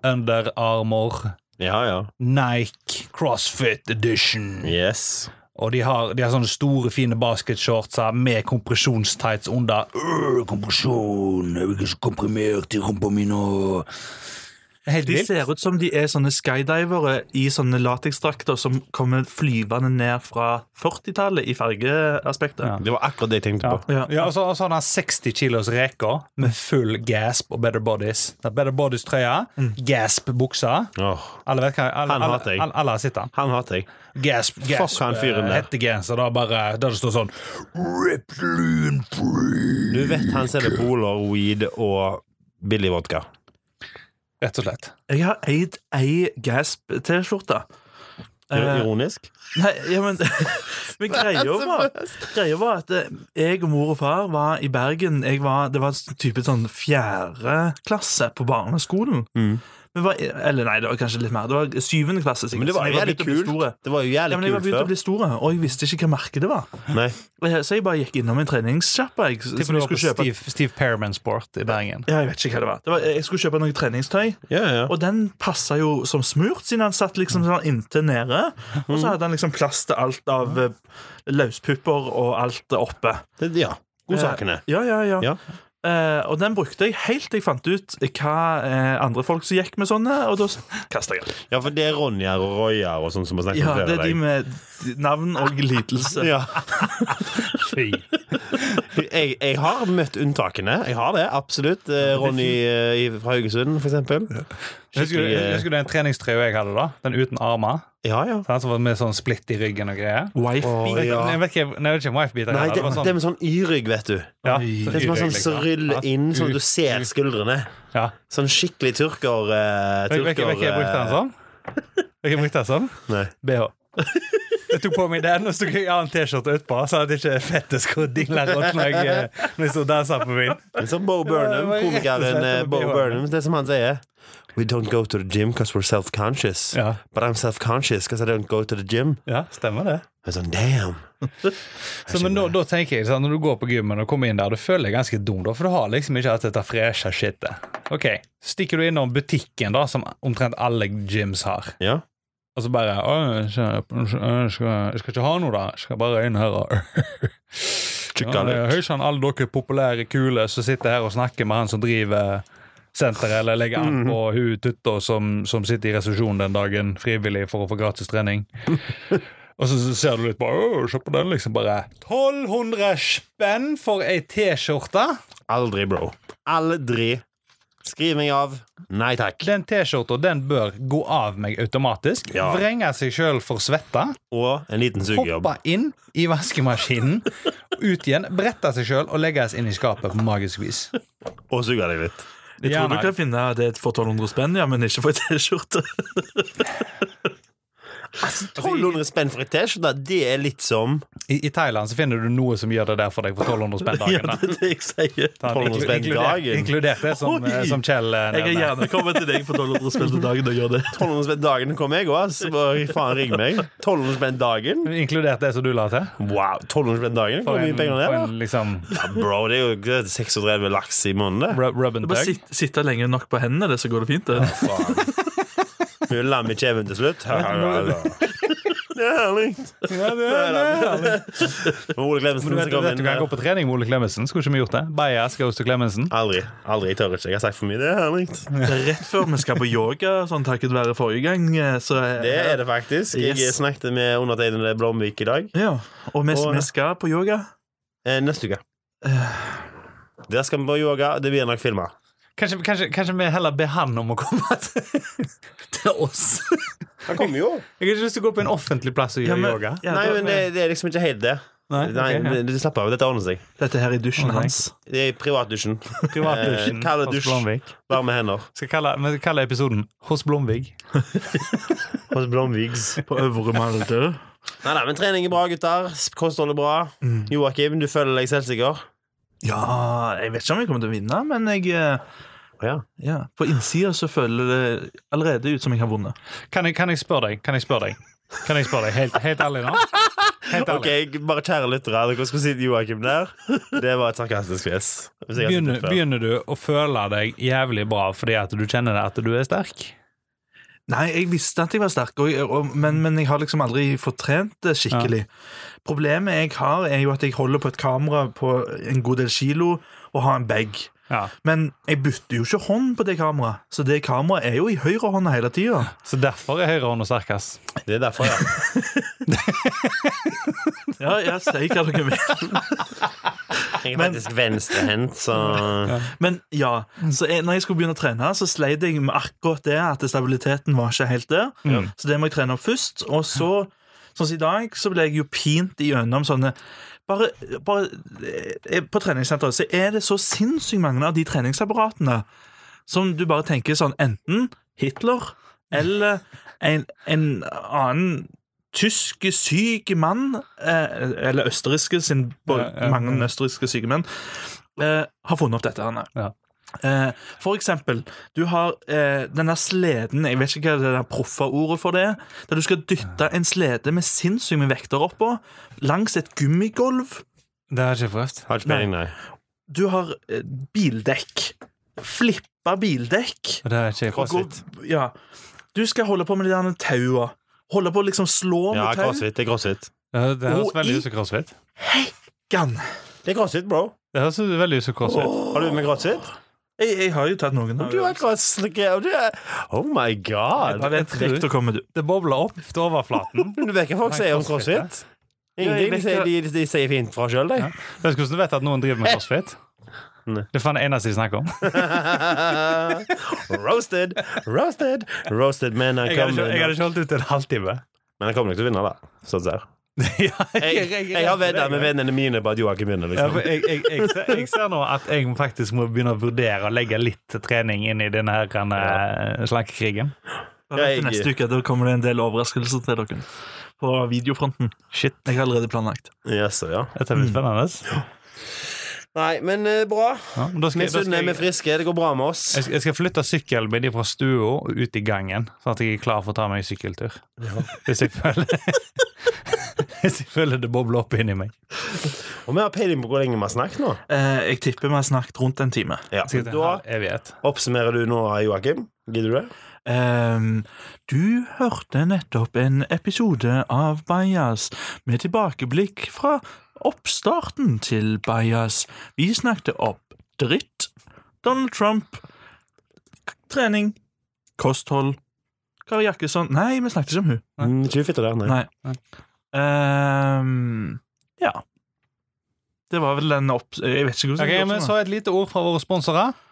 [SPEAKER 1] Under Armour,
[SPEAKER 3] Ja, ja.
[SPEAKER 1] Nike, CrossFit Edition.
[SPEAKER 3] Yes.
[SPEAKER 1] Og de har, de har sånne store, fine basketshortser med kompresjonstights under. Øh, kompresjon! Jeg er ikke så komprimert i rumpa mi nå. Det er Helt
[SPEAKER 2] De
[SPEAKER 1] vilt.
[SPEAKER 2] ser ut som de er sånne skydivere i sånne lateksdrakter som kommer flyvende ned fra 40-tallet i fargeaspektet.
[SPEAKER 1] Ja.
[SPEAKER 3] Det var akkurat det jeg tenkte på.
[SPEAKER 2] Ja.
[SPEAKER 1] Ja, og så og så har han 60 kilos reker
[SPEAKER 3] Mm.
[SPEAKER 1] med full gasp og Better Bodies. Det er Better Bodies-trøya, gasp-buksa.
[SPEAKER 3] Åh,
[SPEAKER 1] Alle vet hva alle,
[SPEAKER 3] Mm. Han hater
[SPEAKER 1] alle,
[SPEAKER 3] jeg.
[SPEAKER 1] alle, alle har sett han.
[SPEAKER 3] han hater jeg.
[SPEAKER 1] Gasp, gasp.
[SPEAKER 3] Fuck han fyren
[SPEAKER 1] eh,
[SPEAKER 3] der.
[SPEAKER 1] Hettegenser. Da bare der det står sånn Rip loon free.
[SPEAKER 3] Du vet han selger boler, weed og billig vodka.
[SPEAKER 1] Rett og slett.
[SPEAKER 2] Jeg har eid ei Gasp-T-skjorte. Eh,
[SPEAKER 3] Ironisk.
[SPEAKER 2] Nei, ja, men, men greia var, greia var at eh, jeg og mor og far var i Bergen. Jeg var, det var en type sånn fjerde klasse på barneskolen.
[SPEAKER 3] Mm.
[SPEAKER 2] Men var, eller nei, det var kanskje litt mer. Det var syvende klasse. sikkert.
[SPEAKER 3] Men det var
[SPEAKER 2] Så
[SPEAKER 3] jo
[SPEAKER 2] jeg
[SPEAKER 3] jævlig
[SPEAKER 2] begynt å bli
[SPEAKER 3] kult.
[SPEAKER 2] store.
[SPEAKER 3] Det var jo
[SPEAKER 2] Ja,
[SPEAKER 3] jævlig
[SPEAKER 2] men jeg var
[SPEAKER 3] kult
[SPEAKER 2] begynt å
[SPEAKER 3] før.
[SPEAKER 2] bli store, og jeg visste ikke hva merket det var.
[SPEAKER 3] Nei.
[SPEAKER 2] Så jeg bare gikk innom en treningssjappe. Jeg, som
[SPEAKER 1] Tipper du
[SPEAKER 2] jeg
[SPEAKER 1] var på
[SPEAKER 2] skulle kjøpe.
[SPEAKER 1] Steve, Steve Perriman Sport i Bergen.
[SPEAKER 2] Ja, jeg vet ikke hva det var. Det var jeg skulle kjøpe noe treningstøy,
[SPEAKER 3] Ja, ja.
[SPEAKER 2] og den passa jo som smurt, siden han satt liksom sånn inntil nede. Og så hadde han liksom plass til alt av eh, løspupper og alt oppe.
[SPEAKER 3] Det, ja. Godsakene.
[SPEAKER 2] Ja, ja, ja.
[SPEAKER 3] Ja.
[SPEAKER 2] Eh, og den brukte jeg helt til jeg fant ut hva eh, andre folk som gikk med sånne, og da kasta jeg den.
[SPEAKER 3] Ja, for det er Ronjar og Rojar og sånn som har snakket
[SPEAKER 2] Ja,
[SPEAKER 3] om
[SPEAKER 2] det
[SPEAKER 3] flere
[SPEAKER 2] er de
[SPEAKER 3] deg.
[SPEAKER 2] med navn og lidelse.
[SPEAKER 3] Ja.
[SPEAKER 1] Fy.
[SPEAKER 3] Jeg, jeg har møtt unntakene. Jeg har det, absolutt. Eh, Ronny eh, i- fra Haugesund, for eksempel.
[SPEAKER 1] Husker du,
[SPEAKER 3] Skikkelig, eh,
[SPEAKER 1] husker du den treningstrøya jeg hadde, da? Den uten armer?
[SPEAKER 3] Ja, ja.
[SPEAKER 1] Den som var med sånn splitt i ryggen og greier?
[SPEAKER 2] Wife.
[SPEAKER 3] Å, ja.
[SPEAKER 1] Nei, Jeg vet ikke, nei, jeg vet ikke om wife-biter
[SPEAKER 3] Nei,
[SPEAKER 1] heller.
[SPEAKER 3] det,
[SPEAKER 1] Det var
[SPEAKER 3] det
[SPEAKER 1] sånn,
[SPEAKER 3] med sånn Y-rygg, vet du.
[SPEAKER 1] ja,
[SPEAKER 3] Det som er sånn
[SPEAKER 1] liksom.
[SPEAKER 3] sryll inn, sånn at du
[SPEAKER 1] ut-
[SPEAKER 3] ser skuldrene.
[SPEAKER 1] Ja.
[SPEAKER 3] Sånn skikkelig turker... eh,
[SPEAKER 1] Vet vet ikke
[SPEAKER 3] turker eh,
[SPEAKER 1] hva jeg brukte den som? Vet ikke hva jeg brukte den som?
[SPEAKER 3] Nei.
[SPEAKER 1] BH. Jeg tok på meg den, og så tok jeg en annen T-skjorte utpå, så at ikke fettet skulle dingle rundt når jeg eh, når jeg sto og dansa på byen.
[SPEAKER 3] Men Som Bo
[SPEAKER 1] det
[SPEAKER 3] Burnham,
[SPEAKER 1] var rett og slett
[SPEAKER 3] komikeren eh,
[SPEAKER 1] det
[SPEAKER 3] Bo
[SPEAKER 1] var-
[SPEAKER 3] Burnham. Det som han sier. We don't go to the gym because we're self-conscious.
[SPEAKER 1] Ja.
[SPEAKER 3] But I'm self-conscious because I don't go to the gym.
[SPEAKER 1] Ja, stemmer det.
[SPEAKER 3] Jeg er sånn, damn.
[SPEAKER 1] Så, men da, da tenker jeg sånn, Når du går på gymmen og kommer inn der, du føler deg ganske dum, da, for du har liksom ikke alt dette freshe shitet. Ok, Stikker du innom butikken, da, som omtrent alle gyms har,
[SPEAKER 3] Ja.
[SPEAKER 1] og så bare «Å, jeg skal, jeg skal, jeg skal ikke ha noe, da. Jeg skal bare inn her og ja, det er Hei sann, alle dere populære kule som sitter her og snakker med han som driver senteret, eller legger an på hun tutta som, som sitter i resepsjonen den dagen frivillig for å få gratis trening. Og så så ser du litt på «Å, Se på den, liksom. Bare 1200 spenn for ei T-skjorte.
[SPEAKER 3] Aldri, bro. Aldri. Skriv meg av. Nei takk.
[SPEAKER 1] Den T-skjorta den bør gå av meg automatisk.
[SPEAKER 3] Ja.
[SPEAKER 1] Vrenge seg sjøl for svette.
[SPEAKER 3] Og en liten sugejobb.
[SPEAKER 1] Hoppe inn i vaskemaskinen, ut igjen, brette seg sjøl og legges inn i skapet på magisk vis.
[SPEAKER 3] Og suge deg litt.
[SPEAKER 2] Jeg tror
[SPEAKER 1] Gjerne.
[SPEAKER 2] du kan finne det for 1200 spenn, ja, men ikke for ei T-skjorte.
[SPEAKER 3] 1200 Altså, spenn for et T-skjorte, det er litt som
[SPEAKER 1] I, I Thailand så finner du noe som gjør det der for deg for 1200 spenn
[SPEAKER 2] Ja,
[SPEAKER 1] dagen. da.
[SPEAKER 2] det er det jeg sier.
[SPEAKER 1] Sånn,
[SPEAKER 3] 1200 spenn
[SPEAKER 1] inkludert,
[SPEAKER 3] dagen.
[SPEAKER 1] inkludert det som,
[SPEAKER 2] Oi!
[SPEAKER 1] eh, som Kjell eh,
[SPEAKER 2] Jeg kan
[SPEAKER 1] nevner.
[SPEAKER 2] gjerne komme til deg for 1200 spenn til dagen og gjøre det.
[SPEAKER 3] 1200 spenn dagen kom jeg òg, så bare faen ring meg. 1200 spenn dagen?
[SPEAKER 1] Inkludert det som du la til?
[SPEAKER 3] Wow, 1200 spenn dagen? Hvor mye penger det
[SPEAKER 1] for
[SPEAKER 3] er
[SPEAKER 1] en liksom
[SPEAKER 3] da? Bro, det er jo det er 36 laks i måneden, det.
[SPEAKER 1] rub, rub and
[SPEAKER 2] Bare
[SPEAKER 1] tug.
[SPEAKER 2] sitt, sitte lenge nok på hendene, det, så går det fint. Det.
[SPEAKER 3] Mye lam i kjeven til slutt. Det er herlig.
[SPEAKER 1] Ja, det er det.
[SPEAKER 3] Og Ole
[SPEAKER 1] Men Du
[SPEAKER 3] Klemetsen
[SPEAKER 1] vet,
[SPEAKER 3] som
[SPEAKER 1] du
[SPEAKER 3] kom
[SPEAKER 1] vet du
[SPEAKER 3] inn.
[SPEAKER 1] kan gå på trening med Ole Klemetsen. Skulle ikke vi gjort det? Bajas goes to Klemetsen.
[SPEAKER 3] Aldri. aldri, Jeg tør ikke. Jeg har sagt for mye. Det er herlig.
[SPEAKER 2] Rett før vi skal på yoga, sånn takket være forrige gang, eh, så
[SPEAKER 3] Det er det faktisk. Jeg
[SPEAKER 2] Yes.
[SPEAKER 3] snakket med undertegnede Blomvik i dag.
[SPEAKER 2] Ja, og vi,
[SPEAKER 3] Og-
[SPEAKER 2] vi skal på yoga.
[SPEAKER 3] Eh, neste uke. Der skal vi på yoga. Det blir nok filma.
[SPEAKER 1] Kanskje, kanskje, kanskje vi heller ber han om å komme til, til oss?
[SPEAKER 3] Han kommer jo.
[SPEAKER 1] Jeg har ikke lyst til å gå på en offentlig plass og gjøre
[SPEAKER 2] men-
[SPEAKER 1] yoga.
[SPEAKER 2] ja,
[SPEAKER 3] Nei,
[SPEAKER 2] da-
[SPEAKER 3] men det, det er liksom ikke helt det.
[SPEAKER 1] Nei,
[SPEAKER 3] Nei,
[SPEAKER 1] ok, ja.
[SPEAKER 3] men Slapp av. Dette ordner seg.
[SPEAKER 2] Dette her i dusjen
[SPEAKER 1] Ok.
[SPEAKER 2] hans.
[SPEAKER 3] Det er privatdusjen.
[SPEAKER 1] Privatdusjen
[SPEAKER 3] Eh, kald
[SPEAKER 1] hos
[SPEAKER 3] dusj.
[SPEAKER 1] Blomvik.
[SPEAKER 3] Varme hender.
[SPEAKER 1] Skal kalle, vi skal kalle episoden 'Hos Blomvik'.
[SPEAKER 3] Hos Blomvigs.
[SPEAKER 2] På Øvre Malde.
[SPEAKER 3] Nei, nei, men trening er bra, gutter. Kosthold er bra. Joakim, du føler deg selvsikker?
[SPEAKER 2] Ja, jeg vet ikke om jeg kommer til å vinne, men jeg eh,
[SPEAKER 3] Ja.
[SPEAKER 2] ja, På innsida så føler det allerede ut som jeg har vunnet.
[SPEAKER 1] Kan jeg, kan jeg spørre deg? Kan jeg spørre deg? Kan jeg spørre deg helt, helt ærlig nå? Helt
[SPEAKER 3] Ok,
[SPEAKER 1] ærlig.
[SPEAKER 3] bare kjære lyttere. Dere skulle sett Joakim der. Det var et sarkastisk fjes. Hvis jeg har sett
[SPEAKER 1] Begynner,
[SPEAKER 3] det før.
[SPEAKER 1] begynner du å føle deg jævlig bra fordi at du kjenner at du er sterk?
[SPEAKER 2] Nei, jeg visste at jeg var sterk, og, og, men, men jeg har liksom aldri fått trent det skikkelig. Problemet jeg har, er jo at jeg holder på et kamera på en god del kilo og har en bag.
[SPEAKER 1] Ja.
[SPEAKER 2] Men jeg bytter jo ikke hånd på det kameraet, så det kameraet er jo i høyrehånda hele tida.
[SPEAKER 1] Så derfor er høyrehånda sterkest.
[SPEAKER 3] Det er derfor, ja.
[SPEAKER 2] Ja, jeg sier hva dere vil.
[SPEAKER 3] Jeg er
[SPEAKER 2] Men-
[SPEAKER 3] faktisk venstrehendt, så
[SPEAKER 2] Men ja, så jeg, når jeg skulle begynne å trene, så sleit jeg med akkurat det at stabiliteten var ikke helt der. Så det må jeg trene opp først. Og så, sånn som i dag, så ble jeg jo pint igjennom sånne bare, bare eh, På treningssenteret så er det så sinnssykt mange av de treningsapparatene som du bare tenker sånn enten Hitler eller en, en annen tyske syke mann, eh, eller østerrikske, siden bo-
[SPEAKER 1] Ja, ja,
[SPEAKER 2] mange
[SPEAKER 1] ja.
[SPEAKER 2] østerrikske syke menn, eh, har funnet opp dette. Hanne.
[SPEAKER 1] Ja.
[SPEAKER 2] Eh, for eksempel, du har eh, denne sleden Jeg vet ikke hva det der proffe ordet for det er. Der du skal dytte en slede med sinnssykt med vekter oppå langs et gummigolv.
[SPEAKER 1] Det har jeg ikke prøvd.
[SPEAKER 3] Har ikke peiling, nei.
[SPEAKER 2] Du har eh, bildekk. Flippa bildekk.
[SPEAKER 1] Og det har jeg ikke prøvd.
[SPEAKER 3] Crossfit.
[SPEAKER 2] Ja. Du skal holde på med de der taua. Holde på å liksom slå
[SPEAKER 3] Ja,
[SPEAKER 2] med tau.
[SPEAKER 3] crossfit. Det er crossfit.
[SPEAKER 1] Det hø- det høres
[SPEAKER 2] Og i-
[SPEAKER 1] veldig ut som crossfit.
[SPEAKER 2] Gan.
[SPEAKER 3] Det er crossfit, bro.
[SPEAKER 1] Det høres veldig ut som crossfit.
[SPEAKER 3] Har du med crossfit?
[SPEAKER 2] Jeg, jeg har jo tatt noen.
[SPEAKER 3] Du har crossfit. Du er... Oh my god.
[SPEAKER 2] Ja, det er et
[SPEAKER 1] Jeg tror-
[SPEAKER 2] rekt å komme, du.
[SPEAKER 1] Det bobler opp til overflaten.
[SPEAKER 3] Men du vet hva folk
[SPEAKER 1] Nei,
[SPEAKER 3] sier om
[SPEAKER 1] crossfit,
[SPEAKER 3] crossfit?
[SPEAKER 2] Ja, jeg
[SPEAKER 3] Ingenting.
[SPEAKER 2] vet
[SPEAKER 3] De sier, de, de sier fint fra sjøl, de.
[SPEAKER 1] Ja. Vet du hvordan du vet at noen driver med crossfit?
[SPEAKER 3] Nei.
[SPEAKER 1] Det er faen det eneste de snakker om.
[SPEAKER 3] roasted, roasted, roasted. Men han
[SPEAKER 1] Jeg hadde ikke,
[SPEAKER 3] kommer
[SPEAKER 1] jeg hadde
[SPEAKER 3] men
[SPEAKER 1] ikke holdt ut en halvtime.
[SPEAKER 3] han kommer nok til å vinne, da. Sånn ser.
[SPEAKER 1] Ja,
[SPEAKER 3] Jeg, jeg har vedda med vennene mine på at Joakim vinner.
[SPEAKER 1] Ja, for
[SPEAKER 3] Liksom.
[SPEAKER 1] jeg, jeg, jeg, ser, jeg ser nå at jeg faktisk må begynne å vurdere å legge litt trening inn i denne her, eh, slankekrigen.
[SPEAKER 2] Da vet du
[SPEAKER 3] Jeg-
[SPEAKER 2] Neste uke da kommer det en del overraskelser til dere. På videofronten.
[SPEAKER 1] Shit.
[SPEAKER 2] Jeg har allerede planlagt.
[SPEAKER 3] Yes, ja.
[SPEAKER 1] Dette blir spennende.
[SPEAKER 3] Nei, men eh, bra.
[SPEAKER 1] Ja, men da skal,
[SPEAKER 3] Vi
[SPEAKER 1] jeg- da skal
[SPEAKER 3] sunne, vi
[SPEAKER 1] jeg,
[SPEAKER 3] er friske. Det går bra med oss.
[SPEAKER 1] jeg skal- jeg skal flytte sykkelen min fra stua og ut i gangen, sånn at jeg er klar for å ta meg en sykkeltur. Hvis jeg føler Hvis jeg føler det bobler opp inni meg.
[SPEAKER 3] Og vi har peiling på hvor lenge vi har snakket nå.
[SPEAKER 2] Eh, jeg tipper vi har snakket rundt en time.
[SPEAKER 3] Ja.
[SPEAKER 1] Sikkert en
[SPEAKER 3] Da
[SPEAKER 1] halv evighet.
[SPEAKER 3] oppsummerer du nå, Joakim. Gidder du det?
[SPEAKER 2] Ehm, du hørte nettopp en episode av Bajas med tilbakeblikk fra oppstarten til Bajas. Vi snakket opp dritt, Donald Trump, k- trening, kosthold, Kari Jakkesson Nei, vi snakket ikke om hun.
[SPEAKER 1] Nei.
[SPEAKER 3] Mm, Ikke fitte der, nei.
[SPEAKER 2] Nei. Ehm, ja. Det var vel den opp... Jeg vet ikke hvordan
[SPEAKER 1] Ok, men Så et lite ord fra våre sponsorer.